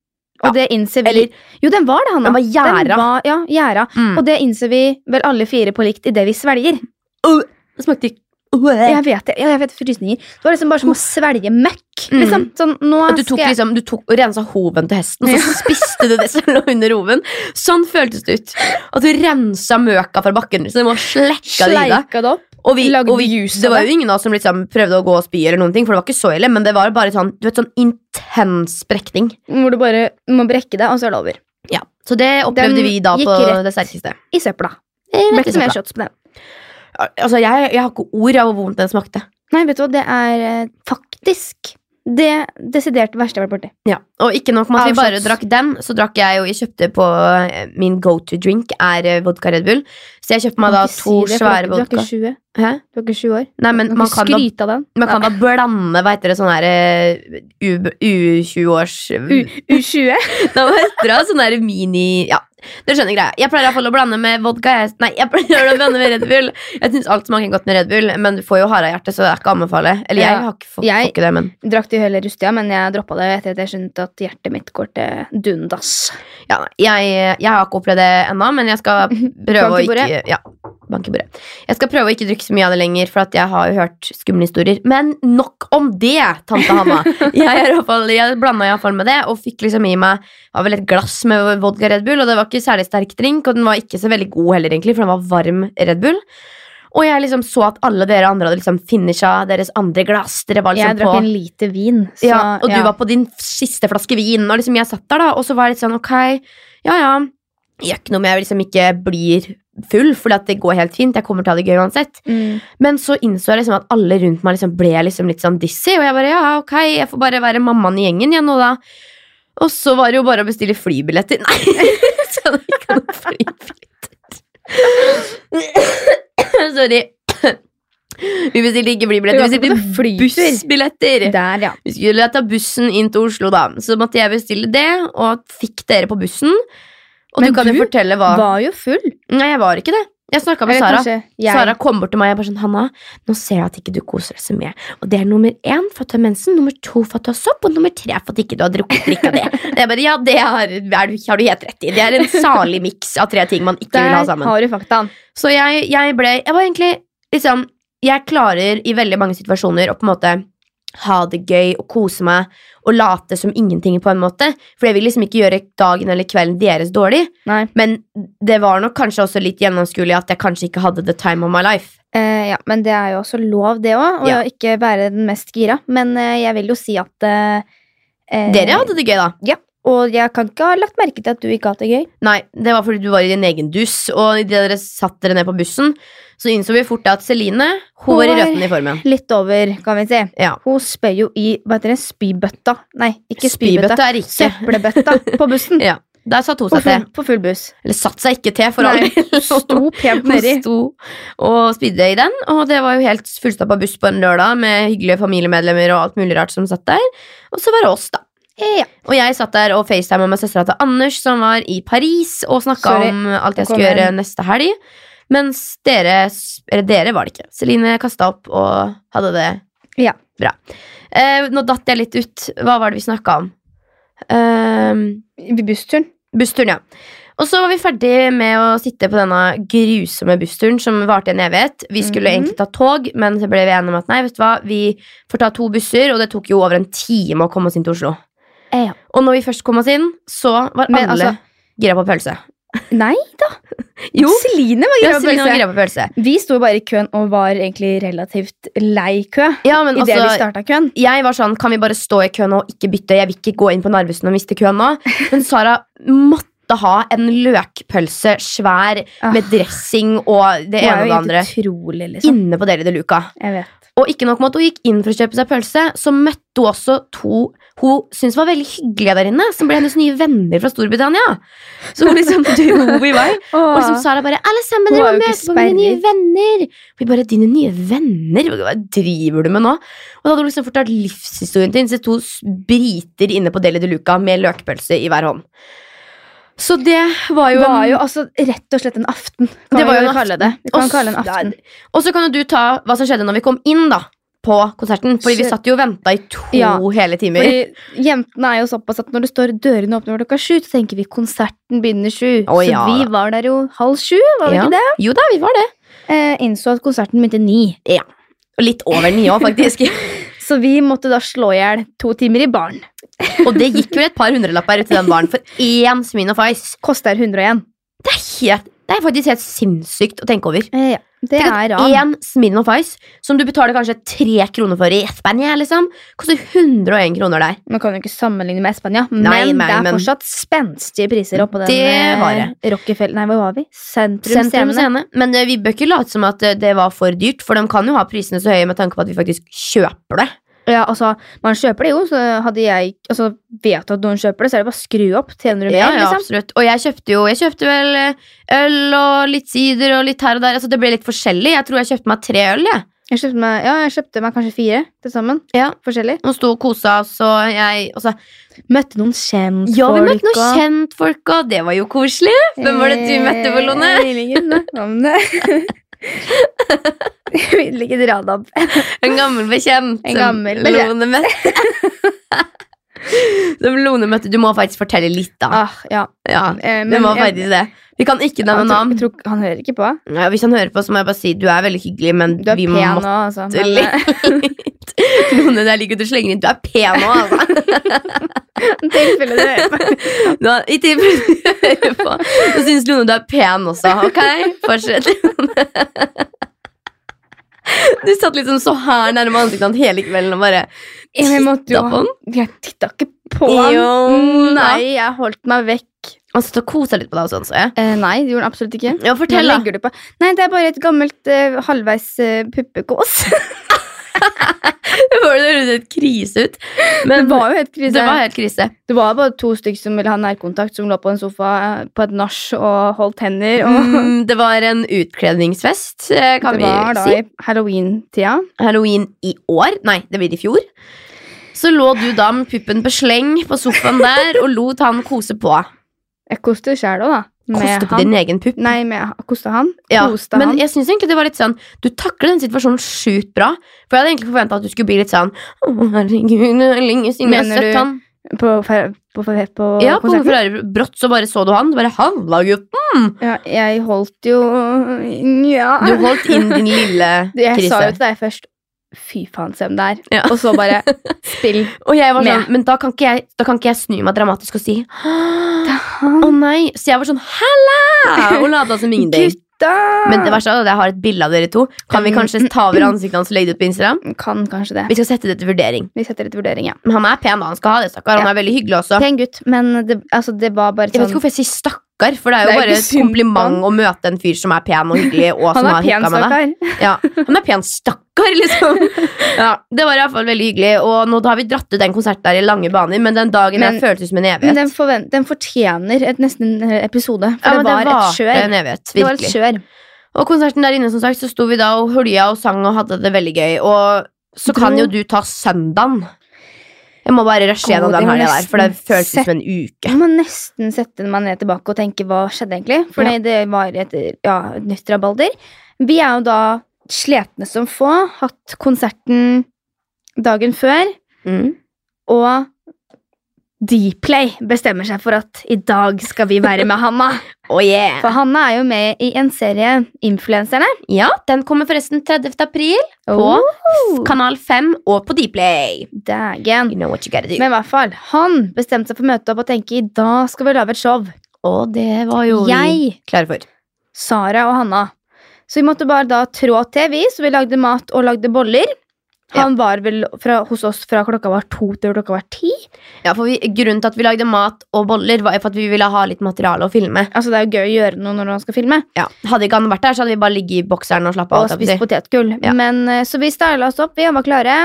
[SPEAKER 1] Og
[SPEAKER 2] Ja,
[SPEAKER 1] det innser vi
[SPEAKER 2] eller- mm.
[SPEAKER 1] Jo, den var det, Hanna.
[SPEAKER 2] Den var gjæra.
[SPEAKER 1] Den var- ja, gjæra. Og det innser vi vel alle fire på likt idet vi svelger.
[SPEAKER 2] det smakte ikke
[SPEAKER 1] Jeg vet det. Ja, jeg vet frysninger. Det var liksom bare som å svelge møkk.
[SPEAKER 2] Oh. Mm.
[SPEAKER 1] Liksom. Sånn, nå
[SPEAKER 2] Du tok
[SPEAKER 1] skal jeg
[SPEAKER 2] liksom, du tok og rensa hoven til hesten, så spiste du det som lå under hoven. Sånn føltes det ut. At du rensa møka fra bakken. Så du må slekka det i deg.
[SPEAKER 1] sleika det opp.
[SPEAKER 2] Og vi,
[SPEAKER 1] Lagde
[SPEAKER 2] og vi,
[SPEAKER 1] juice av
[SPEAKER 2] det var
[SPEAKER 1] det.
[SPEAKER 2] jo ingen av oss som liksom prøvde å gå og spy, eller noen ting, for det var ikke så ille, men det var bare sånn, du vet, sånn intens sprekning.
[SPEAKER 1] Hvor du bare må brekke deg, og så er det over.
[SPEAKER 2] Ja. Så det opplevde
[SPEAKER 1] Den
[SPEAKER 2] vi da
[SPEAKER 1] gikk
[SPEAKER 2] på
[SPEAKER 1] rett.
[SPEAKER 2] det sterkeste.
[SPEAKER 1] I søpla.
[SPEAKER 2] Rett
[SPEAKER 1] Ble
[SPEAKER 2] i
[SPEAKER 1] ikke mer
[SPEAKER 2] søpla.
[SPEAKER 1] shots på den.
[SPEAKER 2] Altså, jeg, jeg har ikke ord av hvor vondt den smakte.
[SPEAKER 1] Nei, vet du hva, det er eh, faktisk det desidert verste jeg har vært borti.
[SPEAKER 2] Ja. Og ikke nok med at
[SPEAKER 1] Av
[SPEAKER 2] vi bare
[SPEAKER 1] shots.
[SPEAKER 2] drakk den, så drakk jeg jo, jeg kjøpte på eh, min go to drink, er eh, vodka Red Bull. Så jeg kjøpte meg da
[SPEAKER 1] Kan ikke
[SPEAKER 2] to
[SPEAKER 1] si det, for
[SPEAKER 2] svære
[SPEAKER 1] du er ikke-
[SPEAKER 2] vodka.
[SPEAKER 1] Du er ikke 20.
[SPEAKER 2] Hæ?
[SPEAKER 1] Du er ikke 20 år.
[SPEAKER 2] Nei, men
[SPEAKER 1] Du kan
[SPEAKER 2] man
[SPEAKER 1] ikke
[SPEAKER 2] kan da,
[SPEAKER 1] skryte av den.
[SPEAKER 2] man kan da blande, hva heter det, sånn her u-20-års...
[SPEAKER 1] U- U20?
[SPEAKER 2] Nå heter det sånn der mini Ja, dere skjønner greia. Jeg pleier i hvert fall å blande med vodka. Jeg, nei, jeg pleier å blande med Red Bull. Jeg syns alt smaker godt med Red Bull, men du får jo harehjerte, så det er ikke å anbefale. Eller jeg
[SPEAKER 1] Ja,
[SPEAKER 2] har ikke fått
[SPEAKER 1] jeg-
[SPEAKER 2] får ikke det, men
[SPEAKER 1] Drakk det jo hele rustia, men jeg droppa det etter at jeg skjønte at hjertet mitt går til dundas.
[SPEAKER 2] ja, nei, jeg, jeg har ikke opplevd det ennå, men jeg skal prøve
[SPEAKER 1] Bank
[SPEAKER 2] å
[SPEAKER 1] i bordet.
[SPEAKER 2] ikke ja, bank i bordet. Jeg skal prøve å ikke drikke så mye av det lenger, for at jeg har jo hørt skumle historier. Men nok om det, tante Hanna. Jeg, er i hvert fall- jeg blanda iallfall med det, og fikk liksom i meg var vel et glass med vodka Red Bull. Og det var ikke særlig sterk drink, og den var ikke så veldig god heller, egentlig, for den var varm Red Bull. Og jeg liksom så at alle dere andre hadde liksom finisha deres andre glass. Dere var
[SPEAKER 1] Jeg
[SPEAKER 2] liksom
[SPEAKER 1] drakk
[SPEAKER 2] på
[SPEAKER 1] en liter vin, så
[SPEAKER 2] ja, og du var på din siste flaske vin, og liksom jeg satt der, da, og så var jeg litt sånn ok, ja ja, gjør ikke noe om jeg liksom ikke blir full, for det går helt fint, jeg kommer til å ha det gøy uansett.
[SPEAKER 1] mm.
[SPEAKER 2] Men så innså jeg liksom at alle rundt meg liksom ble liksom litt sånn dizzy, og jeg bare ja, ok, jeg får bare være mammaen i gjengen igjen nå, da. Og så var det jo bare å bestille flybilletter. Nei, så hadde jeg ikke noen flybilletter. Sorry. Vi bestilte ikke flybilletter,
[SPEAKER 1] Du var
[SPEAKER 2] vi
[SPEAKER 1] ikke på
[SPEAKER 2] bestilte
[SPEAKER 1] flytur.
[SPEAKER 2] bussbilletter.
[SPEAKER 1] Der, ja.
[SPEAKER 2] Vi skulle ta bussen inn til Oslo, da. Så måtte jeg bestille det, og fikk dere på bussen. Og
[SPEAKER 1] Men
[SPEAKER 2] du kan jo
[SPEAKER 1] du
[SPEAKER 2] fortelle hva
[SPEAKER 1] Var jo full.
[SPEAKER 2] Nei, jeg var ikke det. Jeg snakka med
[SPEAKER 1] Eller
[SPEAKER 2] Sara.
[SPEAKER 1] kanskje jeg.
[SPEAKER 2] Sara kom bort til meg og bare sånn Hanna, nå ser jeg at ikke du koser deg så mye. Og det er nummer én for at du har mensen, nummer to for at du har sopp, og nummer tre for at ikke du har drukket drikka det. Jeg bare, ja, det har, er du, har du helt rett i. Det er en salig miks av tre ting man ikke vil ha
[SPEAKER 1] Der
[SPEAKER 2] sammen.
[SPEAKER 1] har du faktaen.
[SPEAKER 2] Så jeg, jeg ble Jeg var egentlig liksom Jeg klarer i veldig mange situasjoner å på en måte ha det gøy og kose meg og late som ingenting, på en måte. For jeg vil liksom ikke gjøre dagen eller kvelden deres dårlig.
[SPEAKER 1] Nei.
[SPEAKER 2] Men det var nok kanskje også litt gjennomskuelig at jeg kanskje ikke hadde the time of my life.
[SPEAKER 1] Eh, ja, men det er jo også lov, det òg, å
[SPEAKER 2] Ja.
[SPEAKER 1] ikke være den mest gira. Men eh, jeg vil jo si at eh, eh,
[SPEAKER 2] Dere hadde det gøy, da.
[SPEAKER 1] Og jeg kan ikke ha lagt merke til at du ikke har hatt det gøy.
[SPEAKER 2] Nei, det var fordi du var i din egen duss, og idet dere satt dere ned på bussen, så innså vi fort at Celine hun var
[SPEAKER 1] Hun
[SPEAKER 2] i
[SPEAKER 1] var-
[SPEAKER 2] røtten i formen.
[SPEAKER 1] Litt over, kan vi si.
[SPEAKER 2] Ja.
[SPEAKER 1] Hun spør jo i hva heter det, spybøtta. Nei, ikke spybøtta.
[SPEAKER 2] Spybøtta er ikke
[SPEAKER 1] Søppelbøtta på bussen.
[SPEAKER 2] Ja, Der satt hun
[SPEAKER 1] På
[SPEAKER 2] seg til.
[SPEAKER 1] full, på full buss.
[SPEAKER 2] Eller satt seg ikke til, for all
[SPEAKER 1] Nei,
[SPEAKER 2] del.
[SPEAKER 1] Sto pent
[SPEAKER 2] Hun
[SPEAKER 1] nedi.
[SPEAKER 2] sto og spydde i den, og det var jo helt fullstappa buss på en lørdag med hyggelige familiemedlemmer og alt mulig rart som satt der. Og så var det oss, da.
[SPEAKER 1] Ja.
[SPEAKER 2] Og jeg satt der og facetima med søstera til Anders, som var i Paris, og snakka
[SPEAKER 1] Sorry,
[SPEAKER 2] om alt jeg
[SPEAKER 1] kom
[SPEAKER 2] skulle gjøre
[SPEAKER 1] igjen.
[SPEAKER 2] neste helg. Mens dere Eller dere var det ikke. Celine kasta opp og hadde det
[SPEAKER 1] Ja.
[SPEAKER 2] bra. Eh, nå datt jeg litt ut. Hva var det vi snakka om? Eh,
[SPEAKER 1] I Bussturen.
[SPEAKER 2] Bussturen, ja. Og så var vi ferdig med å sitte på denne grusomme bussturen som varte en evighet. Vi skulle
[SPEAKER 1] Mhm.
[SPEAKER 2] egentlig ta tog, men så ble vi enige om at nei, vet du hva, vi får ta to busser, og det tok jo over en time å komme oss inn til Oslo.
[SPEAKER 1] Ja.
[SPEAKER 2] Og når vi først kom oss inn, så var
[SPEAKER 1] Men
[SPEAKER 2] alle
[SPEAKER 1] altså-
[SPEAKER 2] gira på pølse.
[SPEAKER 1] Nei da. Celine var
[SPEAKER 2] Ja,
[SPEAKER 1] gira på
[SPEAKER 2] Celine var
[SPEAKER 1] pølse.
[SPEAKER 2] gira på pølse.
[SPEAKER 1] Vi sto bare i køen og var egentlig relativt lei kø
[SPEAKER 2] Ja, men
[SPEAKER 1] idet vi
[SPEAKER 2] altså,
[SPEAKER 1] starta køen.
[SPEAKER 2] jeg var sånn, kan vi bare stå i køen og ikke bytte? Jeg vil ikke gå inn på Narvesen og miste køen nå. Men Sara måtte ha en løkpølse svær
[SPEAKER 1] Ah.
[SPEAKER 2] med dressing og det
[SPEAKER 1] Det
[SPEAKER 2] ene
[SPEAKER 1] var jo
[SPEAKER 2] og
[SPEAKER 1] helt
[SPEAKER 2] det andre.
[SPEAKER 1] utrolig, liksom.
[SPEAKER 2] Inne på Deli de Luca.
[SPEAKER 1] Jeg vet.
[SPEAKER 2] Og ikke nok med at hun gikk inn for å kjøpe seg pølse, så møtte hun også to hun syntes var veldig hyggelige der inne, som ble hennes nye venner fra Storbritannia. Så hun liksom dro i vei. Og liksom Sara bare 'Alle sammen,
[SPEAKER 1] Hun
[SPEAKER 2] dere
[SPEAKER 1] var
[SPEAKER 2] må
[SPEAKER 1] jo ikke
[SPEAKER 2] møte på mine nye venner!' Vi bare 'Dine nye venner? Hva driver du med nå?' Og da hadde hun liksom fortalt livshistorien til disse to s- briter inne på Deli de Luca med løkpølse i hver hånd. Så det var
[SPEAKER 1] det
[SPEAKER 2] jo, en-
[SPEAKER 1] var jo altså rett og slett en aften. Kan
[SPEAKER 2] Det
[SPEAKER 1] vi
[SPEAKER 2] var jo
[SPEAKER 1] vel
[SPEAKER 2] en
[SPEAKER 1] kalle
[SPEAKER 2] aften.
[SPEAKER 1] det. Vi kan
[SPEAKER 2] Og s-
[SPEAKER 1] kalle det en aften.
[SPEAKER 2] Og så kan jo du ta hva som skjedde når vi kom inn da på konserten. Fordi vi
[SPEAKER 1] Skjø-
[SPEAKER 2] satt jo og venta i to
[SPEAKER 1] Ja,
[SPEAKER 2] hele timer.
[SPEAKER 1] Fordi jentene er jo såpass at når det står dørene åpner klokka sju, så tenker vi konserten begynner sju.
[SPEAKER 2] Å,
[SPEAKER 1] så
[SPEAKER 2] ja.
[SPEAKER 1] vi var der jo halv sju, var vi
[SPEAKER 2] Ja.
[SPEAKER 1] ikke det?
[SPEAKER 2] Jo da, vi var det.
[SPEAKER 1] Eh, innså at konserten begynte ni.
[SPEAKER 2] Og litt over ni òg, faktisk.
[SPEAKER 1] Så vi måtte da slå i hjel to timer i baren.
[SPEAKER 2] og det gikk jo et par hundrelapper ut til den baren for én Smin of Ice.
[SPEAKER 1] Koster 101.
[SPEAKER 2] Det er, helt, det er faktisk helt sinnssykt å tenke over.
[SPEAKER 1] Eh, ja. Det
[SPEAKER 2] Tenk
[SPEAKER 1] er
[SPEAKER 2] at
[SPEAKER 1] ran.
[SPEAKER 2] Én Smin of Ice som du betaler kanskje tre kroner for i Spania, liksom, koster 101 kroner der.
[SPEAKER 1] Nå kan vi ikke sammenligne med Spania, men
[SPEAKER 2] Nei, nei,
[SPEAKER 1] det er
[SPEAKER 2] men-
[SPEAKER 1] fortsatt spenstige priser oppå den
[SPEAKER 2] Det var
[SPEAKER 1] eh, Rockefeller Nei, hvor var vi? Sentrum, Scene.
[SPEAKER 2] Sentrum Scene. Men eh, vi bør ikke late som at eh, det var for dyrt, for de kan jo ha prisene så høye med tanke på at vi faktisk kjøper det.
[SPEAKER 1] Ja, altså, man kjøper det jo, så hadde jeg altså, Vet du at noen kjøper det, så er det bare å skru opp. Tjener du mer,
[SPEAKER 2] Ja, ja,
[SPEAKER 1] liksom?
[SPEAKER 2] absolutt. Og jeg kjøpte jo Jeg kjøpte vel eh, øl og litt sider og litt her og der. Altså, det ble litt forskjellig. Jeg tror jeg kjøpte meg tre øl. Jeg.
[SPEAKER 1] Jeg kjøpte meg, ja, jeg kjøpte meg kanskje fire til sammen.
[SPEAKER 2] Ja.
[SPEAKER 1] Forskjellig.
[SPEAKER 2] Og sto og kosa oss, og jeg og så-
[SPEAKER 1] Møtte noen kjentfolk.
[SPEAKER 2] Ja, vi møtte noen kjentfolk, og det var jo koselig. Hvem var det du møtte, Bolone?
[SPEAKER 1] Eh, Lillingen. Lillingen Radab.
[SPEAKER 2] En gammel bekjent.
[SPEAKER 1] En
[SPEAKER 2] som
[SPEAKER 1] gammel bekjent.
[SPEAKER 2] Lone møtte. Som Lone møtte. Du må faktisk fortelle litt, da.
[SPEAKER 1] Ah, ja.
[SPEAKER 2] Ja,
[SPEAKER 1] eh,
[SPEAKER 2] du må
[SPEAKER 1] jeg-
[SPEAKER 2] faktisk det. Vi kan ikke
[SPEAKER 1] han, tror, jeg
[SPEAKER 2] nevne navn.
[SPEAKER 1] tror, ikke- han hører ikke på.
[SPEAKER 2] Ja, hvis han hører på, så må jeg bare si du er veldig hyggelig, men
[SPEAKER 1] Du er
[SPEAKER 2] vi
[SPEAKER 1] pen nå,
[SPEAKER 2] må
[SPEAKER 1] altså.
[SPEAKER 2] Du litt. Lone, jeg liker at du slenger inn. Du er pen nå, altså.
[SPEAKER 1] tilfelle du hører på.
[SPEAKER 2] Du har, I tilfelle du hører på, så syns Lone du er pen også. Ok, fortsett. Lone. Du satt liksom så her nærme ansiktet hans hele kvelden og bare
[SPEAKER 1] Ja, men jeg måtte jo
[SPEAKER 2] titta på
[SPEAKER 1] ha-
[SPEAKER 2] han.
[SPEAKER 1] Jeg titta ikke på han.
[SPEAKER 2] Jo, da.
[SPEAKER 1] Nei, jeg holdt meg vekk.
[SPEAKER 2] Mm, Han satt og kosa litt på deg og sånn, så jeg.
[SPEAKER 1] Eh, nei, det gjorde han absolutt ikke.
[SPEAKER 2] Ja,
[SPEAKER 1] Nå
[SPEAKER 2] fortell, da.
[SPEAKER 1] legger du på. Nei, det er bare et gammelt eh, halvveis eh, puppekås.
[SPEAKER 2] Det høres helt krise ut.
[SPEAKER 1] Det
[SPEAKER 2] Men
[SPEAKER 1] var jo helt krise.
[SPEAKER 2] det var helt krise.
[SPEAKER 1] Det var bare to stykker som ville ha nærkontakt, som lå på en sofa eh, på et nach og holdt hender. Og
[SPEAKER 2] Mm, det var en utkledningsfest, eh, kan
[SPEAKER 1] det var
[SPEAKER 2] vi
[SPEAKER 1] da
[SPEAKER 2] si.
[SPEAKER 1] i halloween-tida.
[SPEAKER 2] halloween i år, nei, det blir i fjor, så lå du da med puppen på sleng på sofaen der og lot han kose på.
[SPEAKER 1] Jeg koste sjæl òg, da. med
[SPEAKER 2] Koste på
[SPEAKER 1] han.
[SPEAKER 2] din egen pupp.
[SPEAKER 1] Nei, med koste han.
[SPEAKER 2] Ja,
[SPEAKER 1] Koste
[SPEAKER 2] men
[SPEAKER 1] han.
[SPEAKER 2] jeg synes egentlig det var litt sånn Du takler den situasjonen sjukt bra. For jeg hadde egentlig forventa at du skulle bli litt sånn Å, herregud, det er lenge siden jeg
[SPEAKER 1] Mener du-
[SPEAKER 2] har sett han.
[SPEAKER 1] På, fe- på, fe- på
[SPEAKER 2] Ja, på
[SPEAKER 1] konserten.
[SPEAKER 2] Ferrari Brått så bare så du han. Du bare 'Halla, gutten'.
[SPEAKER 1] Ja, jeg holdt jo Nja.
[SPEAKER 2] Du holdt inn din lille
[SPEAKER 1] Jeg sa jo
[SPEAKER 2] krise.
[SPEAKER 1] til deg først Fy faen, se hvem det er.
[SPEAKER 2] Ja.
[SPEAKER 1] Og så bare spill.
[SPEAKER 2] Og jeg var sånn,
[SPEAKER 1] Med.
[SPEAKER 2] men da kan, ikke jeg, da kan ikke jeg snu meg dramatisk og si Å
[SPEAKER 1] Han,
[SPEAKER 2] nei! Så jeg var sånn 'Halla!' og lata som ingenting.
[SPEAKER 1] gutta!
[SPEAKER 2] Men det verste er at jeg har et bilde av dere to. Kan vi kanskje ta over ansiktet hans og legge det ut på Instagram?
[SPEAKER 1] Kan kanskje det.
[SPEAKER 2] Vi skal sette det til vurdering.
[SPEAKER 1] Vi setter litt vurdering, ja.
[SPEAKER 2] Men han er pen, da. Han skal ha det, stakkar. Han er veldig hyggelig også.
[SPEAKER 1] Pen gutt, men det, altså, det var bare
[SPEAKER 2] Jeg vet ikke
[SPEAKER 1] sånn
[SPEAKER 2] hvorfor jeg sier stakkar, for det er jo
[SPEAKER 1] Det er jo
[SPEAKER 2] bare
[SPEAKER 1] ikke
[SPEAKER 2] et
[SPEAKER 1] synd på
[SPEAKER 2] kompliment
[SPEAKER 1] han.
[SPEAKER 2] å møte en fyr som er pen og hyggelig, og
[SPEAKER 1] Han
[SPEAKER 2] som
[SPEAKER 1] er
[SPEAKER 2] har
[SPEAKER 1] pen,
[SPEAKER 2] hooka med deg.
[SPEAKER 1] stakkar.
[SPEAKER 2] Ja, han er pen stakkar, liksom. Ja, det var i hvert fall veldig hyggelig, og nå da har vi dratt ut den konserten der i lange baner, men den dagen
[SPEAKER 1] Men-
[SPEAKER 2] der føltes som en
[SPEAKER 1] Men
[SPEAKER 2] evighet.
[SPEAKER 1] den, forven- den fortjener et, nesten en episode, for
[SPEAKER 2] ja,
[SPEAKER 1] det,
[SPEAKER 2] men
[SPEAKER 1] var et
[SPEAKER 2] en
[SPEAKER 1] kjør.
[SPEAKER 2] evighet,
[SPEAKER 1] Det var et
[SPEAKER 2] virkelig.
[SPEAKER 1] kjør.
[SPEAKER 2] Og konserten der inne, som sagt, så sto vi da og hølja og sang og hadde det veldig gøy, og så kan
[SPEAKER 1] Dro-
[SPEAKER 2] jo du ta søndagen. Jeg må bare rushe gjennom
[SPEAKER 1] Å, det
[SPEAKER 2] den
[SPEAKER 1] var
[SPEAKER 2] helga der, for det
[SPEAKER 1] nesten
[SPEAKER 2] føltes
[SPEAKER 1] sett.
[SPEAKER 2] som en uke.
[SPEAKER 1] Jeg må nesten sette meg ned tilbake og tenke hva skjedde egentlig. For
[SPEAKER 2] Ja.
[SPEAKER 1] det var et, ja, et nytt rabalder. Vi er jo da sletne som få. Hatt konserten dagen før.
[SPEAKER 2] Mm.
[SPEAKER 1] Og Dplay bestemmer seg for at i dag skal vi være med Hanna.
[SPEAKER 2] Oh yeah!
[SPEAKER 1] For Hanna er jo med i en serie Influencerne.
[SPEAKER 2] Ja, den kommer forresten 30. april på
[SPEAKER 1] På
[SPEAKER 2] Kanal 5 og på Dplay.
[SPEAKER 1] Dægen.
[SPEAKER 2] You know what you gotta do.
[SPEAKER 1] Men i hvert fall, han bestemte seg for å møte opp og tenke i dag skal vi lage et show.
[SPEAKER 2] og det var jo vi
[SPEAKER 1] Jeg
[SPEAKER 2] klare for.
[SPEAKER 1] Sara og Hanna. Så vi måtte bare da trå til, vi. Så vi lagde mat og lagde boller. Han var vel fra, hos oss fra klokka var to til klokka var ti.
[SPEAKER 2] Ja, for vi, Grunnen til at vi lagde mat og boller, var jo for at vi ville ha litt materiale å filme.
[SPEAKER 1] Altså Det er jo gøy å gjøre noe når man skal filme.
[SPEAKER 2] Ja, Hadde ikke han vært der, så hadde vi bare ligget i bokseren og slappa
[SPEAKER 1] Og
[SPEAKER 2] av. holdt
[SPEAKER 1] spist
[SPEAKER 2] jeg på å si.
[SPEAKER 1] potetgull.
[SPEAKER 2] Ja.
[SPEAKER 1] Men, eh, så vi styla oss opp, vi var klare.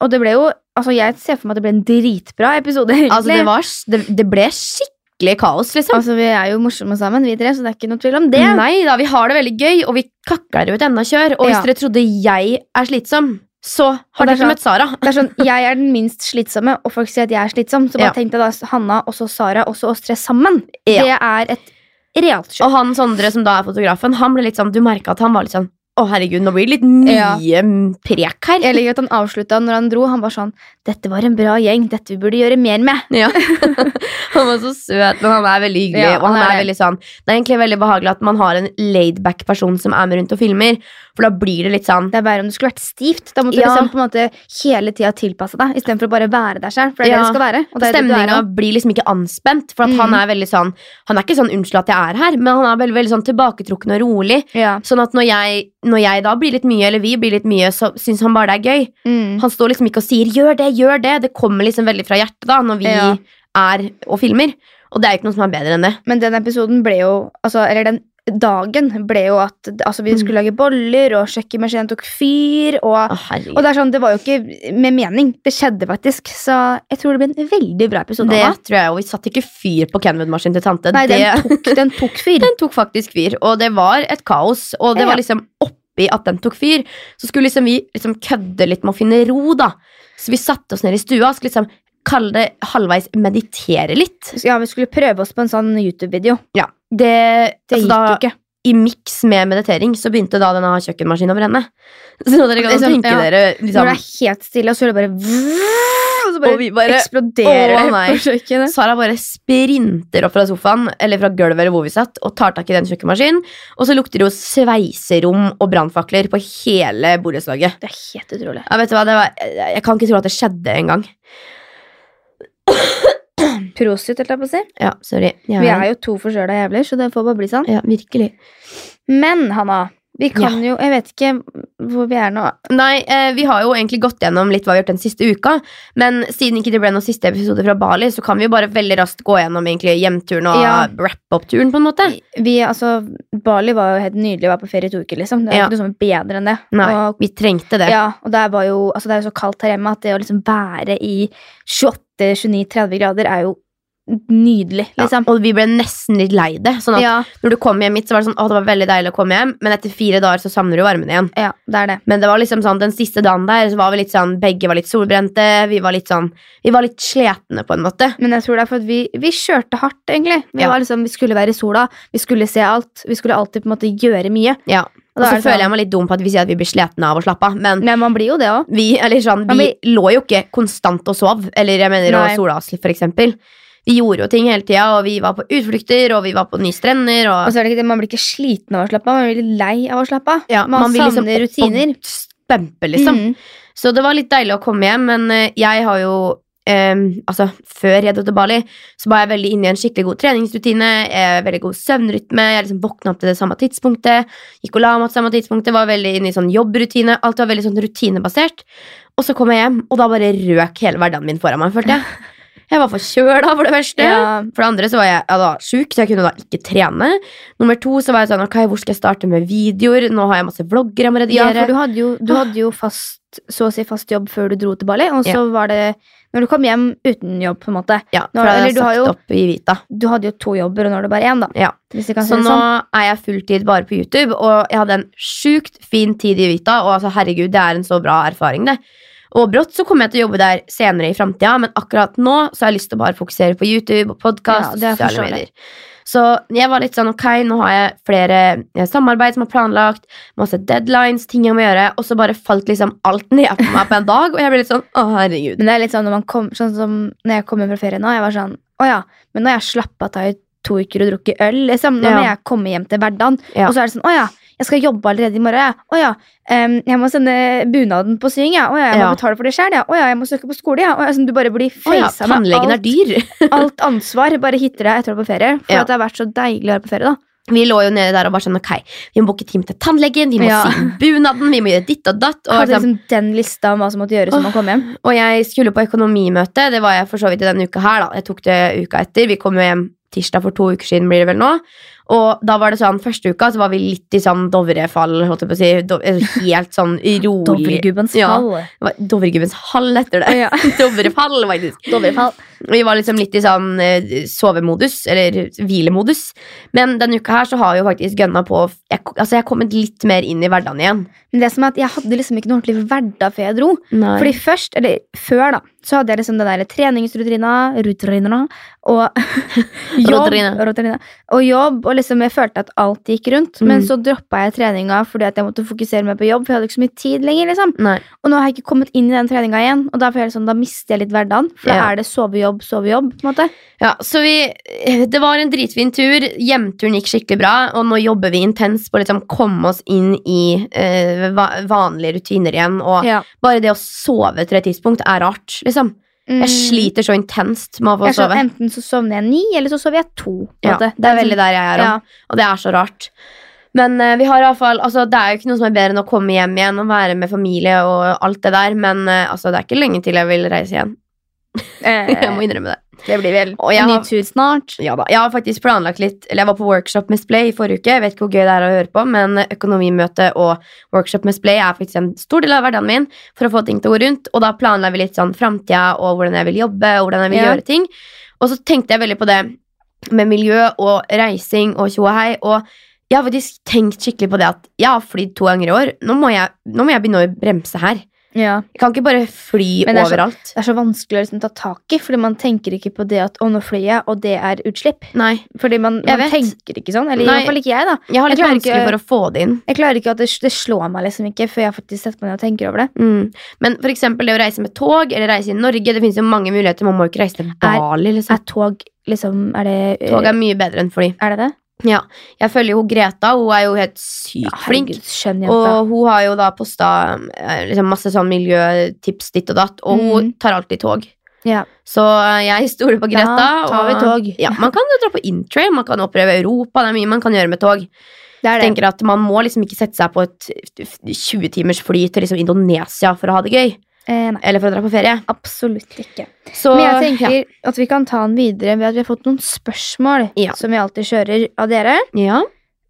[SPEAKER 1] Og det ble jo altså Jeg ser for meg at det ble en dritbra episode. egentlig.
[SPEAKER 2] Altså, det, var, s- det, det ble skikkelig kaos, liksom.
[SPEAKER 1] Altså, Vi er jo morsomme sammen, vi tre, så det er ikke noe tvil om det.
[SPEAKER 2] Nei da, vi har det veldig gøy, og vi kakler jo et enda kjør. Og hvis
[SPEAKER 1] Ja.
[SPEAKER 2] dere trodde jeg er slitsom, så har
[SPEAKER 1] det
[SPEAKER 2] dere
[SPEAKER 1] er
[SPEAKER 2] ikke møtt Sara.
[SPEAKER 1] Det er sånn, Jeg er den minst slitsomme, og folk sier at jeg er slitsom. Så bare
[SPEAKER 2] Ja.
[SPEAKER 1] tenkte jeg da Hanna og så Sara og så oss tre sammen.
[SPEAKER 2] Ja.
[SPEAKER 1] Det er et realt show.
[SPEAKER 2] Og han Sondre, som da er fotografen, han ble litt sånn, du merka at han var litt sånn Å, herregud, nå blir det litt mye
[SPEAKER 1] Ja.
[SPEAKER 2] prek her.
[SPEAKER 1] Jeg liker at han avslutta når han dro. Han var sånn 'Dette var en bra gjeng. Dette vi burde gjøre mer med.'
[SPEAKER 2] Ja. han var så søt, men han er veldig hyggelig.
[SPEAKER 1] Ja,
[SPEAKER 2] og han
[SPEAKER 1] han er
[SPEAKER 2] er
[SPEAKER 1] det.
[SPEAKER 2] veldig sånn Det er egentlig veldig behagelig at man har en laidback person som er med rundt og filmer. For da blir det litt sånn
[SPEAKER 1] Det er bare om det skulle vært stivt. Da måtte du
[SPEAKER 2] Ja.
[SPEAKER 1] liksom på en måte hele tida tilpasse deg, istedenfor å bare være der selv. For det er
[SPEAKER 2] Ja.
[SPEAKER 1] det du skal være. Og det er det du er
[SPEAKER 2] Stemninga
[SPEAKER 1] av.
[SPEAKER 2] blir liksom ikke anspent. For at
[SPEAKER 1] Mm.
[SPEAKER 2] han er veldig sånn Han er ikke sånn 'unnskyld at jeg er her', men han er veldig, veldig sånn tilbaketrukken og rolig.
[SPEAKER 1] Ja.
[SPEAKER 2] Sånn at når jeg, når jeg da blir litt mye, eller vi blir litt mye, så syns han bare det er gøy.
[SPEAKER 1] Mm.
[SPEAKER 2] Han står liksom ikke og sier 'gjør det, gjør det'. Det kommer liksom veldig fra hjertet da når vi
[SPEAKER 1] Ja.
[SPEAKER 2] er og filmer. Og det er jo ikke noe som er bedre enn det.
[SPEAKER 1] Men den episoden ble jo altså, Eller den dagen ble jo at altså, vi
[SPEAKER 2] Mm.
[SPEAKER 1] skulle lage boller, og kjøkkenmaskinen tok fyr, og
[SPEAKER 2] Å, herregud.
[SPEAKER 1] og det er sånn, det var jo ikke med mening. Det skjedde faktisk. Så jeg tror det ble en veldig bra episode.
[SPEAKER 2] Det
[SPEAKER 1] Anna.
[SPEAKER 2] tror jeg jo. Vi satte ikke fyr på Kenwood-maskinen til tante.
[SPEAKER 1] Nei,
[SPEAKER 2] det,
[SPEAKER 1] den tok, den tok fyr.
[SPEAKER 2] den tok faktisk fyr, og det var et kaos. Og det
[SPEAKER 1] Ja.
[SPEAKER 2] var liksom oppi at den tok fyr, så skulle liksom vi liksom kødde litt med å finne ro, da. Så vi satte oss ned i stua og skulle liksom kalle det halvveis meditere litt.
[SPEAKER 1] Ja, vi skulle prøve oss på en sånn YouTube-video.
[SPEAKER 2] Ja, det,
[SPEAKER 1] Det
[SPEAKER 2] altså
[SPEAKER 1] gikk
[SPEAKER 2] da,
[SPEAKER 1] jo ikke.
[SPEAKER 2] I miks med meditering så begynte da denne kjøkkenmaskinen å brenne. Så dere kan
[SPEAKER 1] Liksom,
[SPEAKER 2] tenke
[SPEAKER 1] ja.
[SPEAKER 2] dere
[SPEAKER 1] Når
[SPEAKER 2] liksom,
[SPEAKER 1] det er helt stille, og så hører det bare vrrrr, Og så bare,
[SPEAKER 2] Og vi bare
[SPEAKER 1] eksploderer
[SPEAKER 2] å,
[SPEAKER 1] det
[SPEAKER 2] nei.
[SPEAKER 1] på kjøkkenet.
[SPEAKER 2] Sara bare sprinter opp fra sofaen eller fra gulvet eller hvor vi satt og tar tak i den kjøkkenmaskinen. Og så lukter det jo sveiserom og brannfakler på hele borettslaget.
[SPEAKER 1] Det er helt utrolig.
[SPEAKER 2] Ja, vet du hva, det var, jeg kan ikke tro at det skjedde engang.
[SPEAKER 1] Prosit, holdt jeg på å si.
[SPEAKER 2] Ja, sorry. Jeg,
[SPEAKER 1] Vi er jo to forkjøla jævler, så det får bare bli sånn.
[SPEAKER 2] ja, virkelig.
[SPEAKER 1] Men Hanna, vi kan jo Jeg vet ikke hvor vi er nå.
[SPEAKER 2] Nei, eh, vi har jo egentlig gått gjennom litt hva vi har gjort den siste uka, men siden ikke det ble noen siste episode fra Bali, så kan vi jo bare veldig raskt gå gjennom egentlig hjemturen og
[SPEAKER 1] Ja.
[SPEAKER 2] wrap up turen, på en måte.
[SPEAKER 1] Vi, altså, Bali var jo helt nydelig å være på ferie i to uker, liksom. Det er
[SPEAKER 2] Ja.
[SPEAKER 1] ikke noe som er bedre enn det.
[SPEAKER 2] Nei,
[SPEAKER 1] og,
[SPEAKER 2] vi trengte det.
[SPEAKER 1] ja, og der var jo, altså, det er jo så kaldt her hjemme at det å liksom være i 28-29-30 grader er jo nydelig,
[SPEAKER 2] Ja,
[SPEAKER 1] liksom.
[SPEAKER 2] Og vi ble nesten litt lei det. Sånn at
[SPEAKER 1] Ja,
[SPEAKER 2] når du kom hjem hit, så var det sånn Å, det var veldig deilig å komme hjem, men etter fire dager så savner du varmen igjen.
[SPEAKER 1] ja, det er det.
[SPEAKER 2] Men det var liksom sånn, den siste dagen der så var vi litt sånn Begge var litt solbrente. Vi var litt sånn Vi var litt sletne, på en måte.
[SPEAKER 1] Men jeg tror det er for at vi, vi kjørte hardt, egentlig. Vi,
[SPEAKER 2] Ja.
[SPEAKER 1] var liksom, vi skulle være i sola, vi skulle se alt. Vi skulle alltid på en måte gjøre mye.
[SPEAKER 2] Ja.
[SPEAKER 1] Og
[SPEAKER 2] Og
[SPEAKER 1] da
[SPEAKER 2] så
[SPEAKER 1] er det
[SPEAKER 2] føler jeg
[SPEAKER 1] sånn-
[SPEAKER 2] meg litt dum på at vi sier at vi blir sletne av å slappe av. Men
[SPEAKER 1] Men man blir jo det òg.
[SPEAKER 2] vi, eller sånn,
[SPEAKER 1] Men
[SPEAKER 2] vi lå jo ikke konstant og sov. Eller jeg mener og
[SPEAKER 1] Nei.
[SPEAKER 2] sola oss, for eksempel. Vi gjorde jo ting hele tida, og vi var på utflukter, og vi var på nye strender.
[SPEAKER 1] Og
[SPEAKER 2] Og,
[SPEAKER 1] så er det ikke det, man blir ikke sliten av å slappe av, man blir lei av å slappe av.
[SPEAKER 2] ja,
[SPEAKER 1] man,
[SPEAKER 2] vil liksom
[SPEAKER 1] savner rutiner.
[SPEAKER 2] opp- Spempe, liksom.
[SPEAKER 1] Mm.
[SPEAKER 2] Så det var litt deilig å komme hjem, men eh, jeg har jo em, altså, Før jeg dro til Bali, så var jeg veldig inne i en skikkelig god treningsrutine. eh, veldig god søvnrytme. Jeg liksom våkna opp til det samme tidspunktet. Gikk og la meg til samme tidspunktet. Var veldig inne i sånn jobbrutine. Alt var veldig sånn rutinebasert. Og så kom jeg hjem, og da bare røk hele hverdagen min foran meg, følte jeg. Jeg var forkjøla, for det første.
[SPEAKER 1] Ja,
[SPEAKER 2] For det andre så var jeg, jeg var sjuk, så jeg kunne da ikke trene. Nummer to så var jeg sånn Ok, hvor skal jeg starte med videoer? Nå har jeg masse vlogger jeg må
[SPEAKER 1] ja,
[SPEAKER 2] redigere.
[SPEAKER 1] for du hadde jo, du hadde jo fast, så å si fast jobb før du dro til Bali, og så var det når du kom hjem uten jobb, på en måte.
[SPEAKER 2] Ja,
[SPEAKER 1] Nå-
[SPEAKER 2] for jeg
[SPEAKER 1] eller
[SPEAKER 2] har
[SPEAKER 1] du har
[SPEAKER 2] sagt
[SPEAKER 1] jo-
[SPEAKER 2] opp i Vita.
[SPEAKER 1] Du hadde jo to jobber, og nå er det bare én, da.
[SPEAKER 2] Ja.
[SPEAKER 1] Hvis jeg kan si
[SPEAKER 2] Så
[SPEAKER 1] det
[SPEAKER 2] nå
[SPEAKER 1] sånn.
[SPEAKER 2] er jeg fulltid bare på YouTube, og jeg hadde en sjukt fin tid i Vita. Og altså, herregud, det er en så bra erfaring, det. Og brått så kommer jeg til å jobbe der senere i framtida, men akkurat nå så har jeg lyst til å bare fokusere på YouTube og podkast.
[SPEAKER 1] Ja, det
[SPEAKER 2] og
[SPEAKER 1] er
[SPEAKER 2] sosiale
[SPEAKER 1] forståelig.
[SPEAKER 2] medier. Så jeg var litt sånn ok, nå har jeg flere eh, samarbeid som er planlagt, masse deadlines, ting jeg må gjøre, og så bare falt liksom alt ned på meg på en dag, og jeg ble litt sånn å, herregud.
[SPEAKER 1] Men det er litt sånn når man kom, sånn som når jeg kom hjem fra ferie nå, jeg var sånn Å ja, men nå har jeg slappet av i to uker og drukket øl, liksom. Nå må
[SPEAKER 2] Ja.
[SPEAKER 1] jeg komme hjem til hverdagen.
[SPEAKER 2] Ja.
[SPEAKER 1] Og så er det sånn Å ja, jeg skal jobbe allerede i morgen. jeg. Å ja, em, jeg må sende bunaden på syng, jeg. Å ja, jeg må
[SPEAKER 2] Ja.
[SPEAKER 1] betale for det sjøl, jeg. Å ja, jeg må søke på skole, jeg. Å ja, sånn, du bare blir
[SPEAKER 2] Å ja,
[SPEAKER 1] facet med
[SPEAKER 2] tannlegen er
[SPEAKER 1] alt,
[SPEAKER 2] dyr.
[SPEAKER 1] alt ansvar. Bare hitter deg etter å være på ferie. For
[SPEAKER 2] Ja.
[SPEAKER 1] at det har vært så deilig å være på ferie, da.
[SPEAKER 2] Vi lå jo nede der og bare sånn, ok, vi må booke time til tannlegen, vi må
[SPEAKER 1] Ja.
[SPEAKER 2] si bunaden, vi må gjøre ditt og datt. Og,
[SPEAKER 1] Hadde
[SPEAKER 2] liksom,
[SPEAKER 1] liksom den lista om hva som måtte gjøres når man kom hjem.
[SPEAKER 2] og jeg skulle på økonomimøte, det var jeg for så vidt i denne uka her da. Jeg tok det uka etter, vi kom jo hjem tirsdag for to uker siden blir det vel nå. Og da var det sånn, første uka så var vi litt i sånn dovrefall, holdt jeg på å si. Dov- Helt sånn rolig.
[SPEAKER 1] Dovregubbens
[SPEAKER 2] Ja.
[SPEAKER 1] fall.
[SPEAKER 2] Det var Dovregubbens hall etter det.
[SPEAKER 1] Ja.
[SPEAKER 2] Dovrefall, faktisk.
[SPEAKER 1] Dovrefall.
[SPEAKER 2] Vi var liksom litt i sånn eh, sovemodus, eller hvilemodus. Men denne uka her så har vi jo faktisk gønna på jeg, Altså jeg har kommet litt mer inn i hverdagen igjen.
[SPEAKER 1] Men det som er at jeg hadde liksom ikke noe ordentlig hverdag før jeg dro. Fordi først, eller før da, så hadde jeg liksom den der treningsrutina, rutrina, og jobb,
[SPEAKER 2] Rutrina.
[SPEAKER 1] rutrina, og jobb, og liksom jeg følte at alt gikk rundt,
[SPEAKER 2] Mm.
[SPEAKER 1] men så droppet jeg treninga fordi at jeg måtte fokusere meg på jobb, for jeg hadde ikke så mye tid lenger, liksom.
[SPEAKER 2] Nei.
[SPEAKER 1] Og nå har jeg ikke kommet inn i den treninga igjen, og da føler jeg sånn, da mister jeg litt hverdagen, for da
[SPEAKER 2] Ja.
[SPEAKER 1] er det sovejobb, sovejobb, på en måte.
[SPEAKER 2] Ja, så vi, det var en dritfin tur. Hjemturen gikk skikkelig bra, og nå jobber vi intenst på å liksom komme oss inn i eh, va- vanlige rutiner igjen. Og
[SPEAKER 1] Ja.
[SPEAKER 2] bare det å sove til et tidspunkt er rart, liksom. Jeg sliter så intenst med å få
[SPEAKER 1] Mm. Jeg så,
[SPEAKER 2] sove.
[SPEAKER 1] enten så sovner jeg ni, eller så sover jeg to. på en
[SPEAKER 2] Ja,
[SPEAKER 1] måte.
[SPEAKER 2] det er veldig der jeg er,
[SPEAKER 1] sånn- Ja.
[SPEAKER 2] om, og det er så rart. Men eh, vi har i alle fall, altså, det er jo ikke noe som er bedre enn å komme hjem igjen og være med familie og alt det der, men eh, altså, det er ikke lenge til jeg vil reise igjen. Jeg må
[SPEAKER 1] Eh,
[SPEAKER 2] innrømme det.
[SPEAKER 1] det blir vel
[SPEAKER 2] Og jeg
[SPEAKER 1] en ny
[SPEAKER 2] har-
[SPEAKER 1] tur snart.
[SPEAKER 2] Ja da, Jeg har faktisk planlagt litt Eller jeg var på workshop med Splay i forrige uke. Jeg vet ikke hvor gøy det er å høre på, men økonomimøte og workshop med Splay er faktisk en stor del av hverdagen min for å få ting til å gå rundt. Og da planla vi litt sånn framtida og hvordan jeg vil jobbe og hvordan jeg vil
[SPEAKER 1] Ja.
[SPEAKER 2] gjøre ting. Og så tenkte jeg veldig på det med miljø og reising og tjo og hei. Og jeg har faktisk tenkt skikkelig på det at jeg har flydd to ganger i år. Nå må jeg, nå må jeg begynne å bremse her.
[SPEAKER 1] Ja.
[SPEAKER 2] Jeg kan ikke bare fly
[SPEAKER 1] Men det er så-
[SPEAKER 2] overalt.
[SPEAKER 1] det er så vanskelig å liksom ta tak i, fordi man tenker ikke på det at å, nå flyr jeg, og det er utslipp.
[SPEAKER 2] Nei,
[SPEAKER 1] Fordi man, man
[SPEAKER 2] Jeg vet.
[SPEAKER 1] tenker ikke sånn. Eller i
[SPEAKER 2] Nei.
[SPEAKER 1] hvert fall ikke jeg, da.
[SPEAKER 2] jeg har
[SPEAKER 1] Jeg
[SPEAKER 2] litt
[SPEAKER 1] klarer
[SPEAKER 2] vanskelig
[SPEAKER 1] ikke-
[SPEAKER 2] for å få det inn.
[SPEAKER 1] Jeg klarer ikke at det, det slår meg liksom ikke før jeg faktisk setter meg ned og tenker over det.
[SPEAKER 2] Mm. Men for eksempel det å reise med tog eller reise i Norge, det finnes jo mange muligheter. Man må jo ikke reise til Bali. Liksom.
[SPEAKER 1] Er tog liksom Er det eh,
[SPEAKER 2] Tog er mye bedre enn fly.
[SPEAKER 1] er det det?
[SPEAKER 2] Jeg følger jo Greta, hun er jo helt sykt flink.
[SPEAKER 1] herregud, skjønn jente.
[SPEAKER 2] Og hun har jo da posta eh, liksom masse sånn miljøtips ditt og datt, og hun
[SPEAKER 1] Mhm.
[SPEAKER 2] tar alltid tog.
[SPEAKER 1] Ja.
[SPEAKER 2] Så eh, jeg stoler på Greta.
[SPEAKER 1] Da tar vi
[SPEAKER 2] og-
[SPEAKER 1] tog.
[SPEAKER 2] Ja, man kan jo dra på interrail, man kan oppleve Europa, det er mye man kan gjøre med tog.
[SPEAKER 1] Det er det.
[SPEAKER 2] Tenker at Man må liksom ikke sette seg på et 20 timers fly til liksom Indonesia for å ha det gøy.
[SPEAKER 1] Eh, nei,
[SPEAKER 2] Eller for å dra på ferie.
[SPEAKER 1] absolutt ikke.
[SPEAKER 2] Så,
[SPEAKER 1] Men jeg
[SPEAKER 2] ja.
[SPEAKER 1] tenker at vi kan ta den videre ved at vi har fått noen spørsmål
[SPEAKER 2] Ja.
[SPEAKER 1] som vi alltid kjører av dere.
[SPEAKER 2] Ja.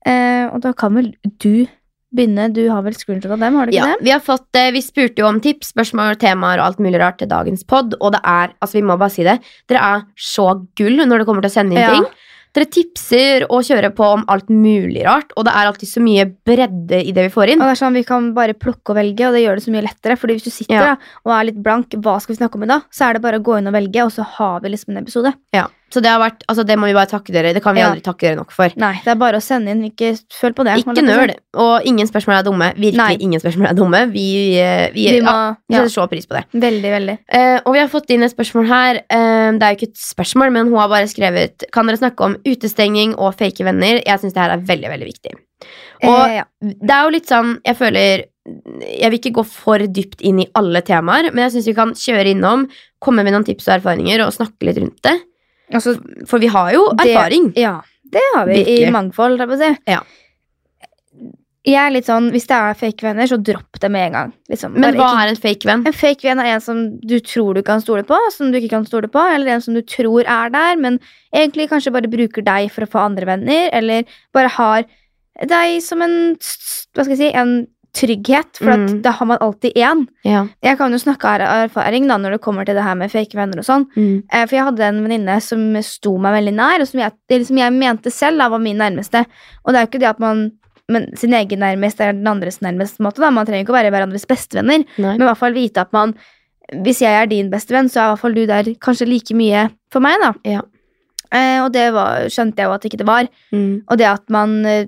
[SPEAKER 1] Eh, og da kan vel du begynne? Du har vel screenshot av dem, har du ikke
[SPEAKER 2] Ja, vi, har fått, eh, vi spurte jo om tips, spørsmål, temaer og alt mulig rart til dagens pod. Og det er, altså vi må bare si det, dere er så gull når det kommer til å sende inn
[SPEAKER 1] Ja.
[SPEAKER 2] ting. Dere tipser og kjører på om alt mulig rart, og det er alltid så mye bredde i det vi får
[SPEAKER 1] det?
[SPEAKER 2] inn.
[SPEAKER 1] Og det er sånn, Vi kan bare plukke og velge, og det gjør det så mye lettere. Fordi hvis du sitter
[SPEAKER 2] Ja.
[SPEAKER 1] da, og er litt blank, hva skal vi snakke om i dag? Så er det bare å gå inn og velge, og så har vi liksom en episode.
[SPEAKER 2] Ja. Så det har vært, altså det må vi bare takke dere, det kan vi
[SPEAKER 1] Ja.
[SPEAKER 2] aldri takke dere nok for.
[SPEAKER 1] Nei, det er bare å sende inn. Ikke føl på det. holdt
[SPEAKER 2] Ikke
[SPEAKER 1] jeg på å si.
[SPEAKER 2] nøl, og ingen spørsmål er dumme. Virkelig
[SPEAKER 1] Nei.
[SPEAKER 2] ingen spørsmål er dumme. Vi, eh, vi,
[SPEAKER 1] Vi må,
[SPEAKER 2] ja, vi
[SPEAKER 1] ja,
[SPEAKER 2] setter så pris på det.
[SPEAKER 1] veldig, veldig.
[SPEAKER 2] Eh, og vi har fått inn et spørsmål her. Eh, det er jo ikke et spørsmål, men hun har bare skrevet Kan dere snakke om utestenging og fake venner. Jeg syns det her er veldig veldig viktig. Og
[SPEAKER 1] eh, ja.
[SPEAKER 2] det er jo litt sånn, jeg føler Jeg vil ikke gå for dypt inn i alle temaer, men jeg syns vi kan kjøre innom, komme med noen tips og erfaringer og snakke litt rundt det.
[SPEAKER 1] Altså,
[SPEAKER 2] For vi har jo
[SPEAKER 1] Det-
[SPEAKER 2] erfaring.
[SPEAKER 1] Ja, det har vi
[SPEAKER 2] Virkelig.
[SPEAKER 1] i mangfold. holdt Jeg, på å si.
[SPEAKER 2] Ja.
[SPEAKER 1] jeg er litt sånn, Hvis det er fake venner, så dropp det med en gang. Liksom.
[SPEAKER 2] Men
[SPEAKER 1] Bare
[SPEAKER 2] hva
[SPEAKER 1] ikke-
[SPEAKER 2] er en fake venn?
[SPEAKER 1] En fake venn er en som du tror du kan stole på, som du ikke kan stole på, eller en som du tror er der, men egentlig kanskje bare bruker deg for å få andre venner, eller bare har deg som en s- hva skal jeg si, en trygghet, for
[SPEAKER 2] Mm.
[SPEAKER 1] at da har man alltid én.
[SPEAKER 2] Ja.
[SPEAKER 1] Jeg kan jo snakke av erfaring da, når det kommer til det her med fake venner og sånn.
[SPEAKER 2] Mm.
[SPEAKER 1] Eh, For jeg hadde en venninne som sto meg veldig nær, og som jeg, eller som jeg mente selv da, var min nærmeste. Og det er jo ikke det at man men sin egen nærmest er den andres nærmeste. på en Måte, da. Man trenger ikke å være hverandres bestevenner,
[SPEAKER 2] Nei.
[SPEAKER 1] men i hvert fall vite at man Hvis jeg er din bestevenn, så er i hvert fall du der kanskje like mye for meg, da.
[SPEAKER 2] Ja.
[SPEAKER 1] Eh, og det var, skjønte jeg jo at ikke det var.
[SPEAKER 2] Mm.
[SPEAKER 1] Og det at man eh,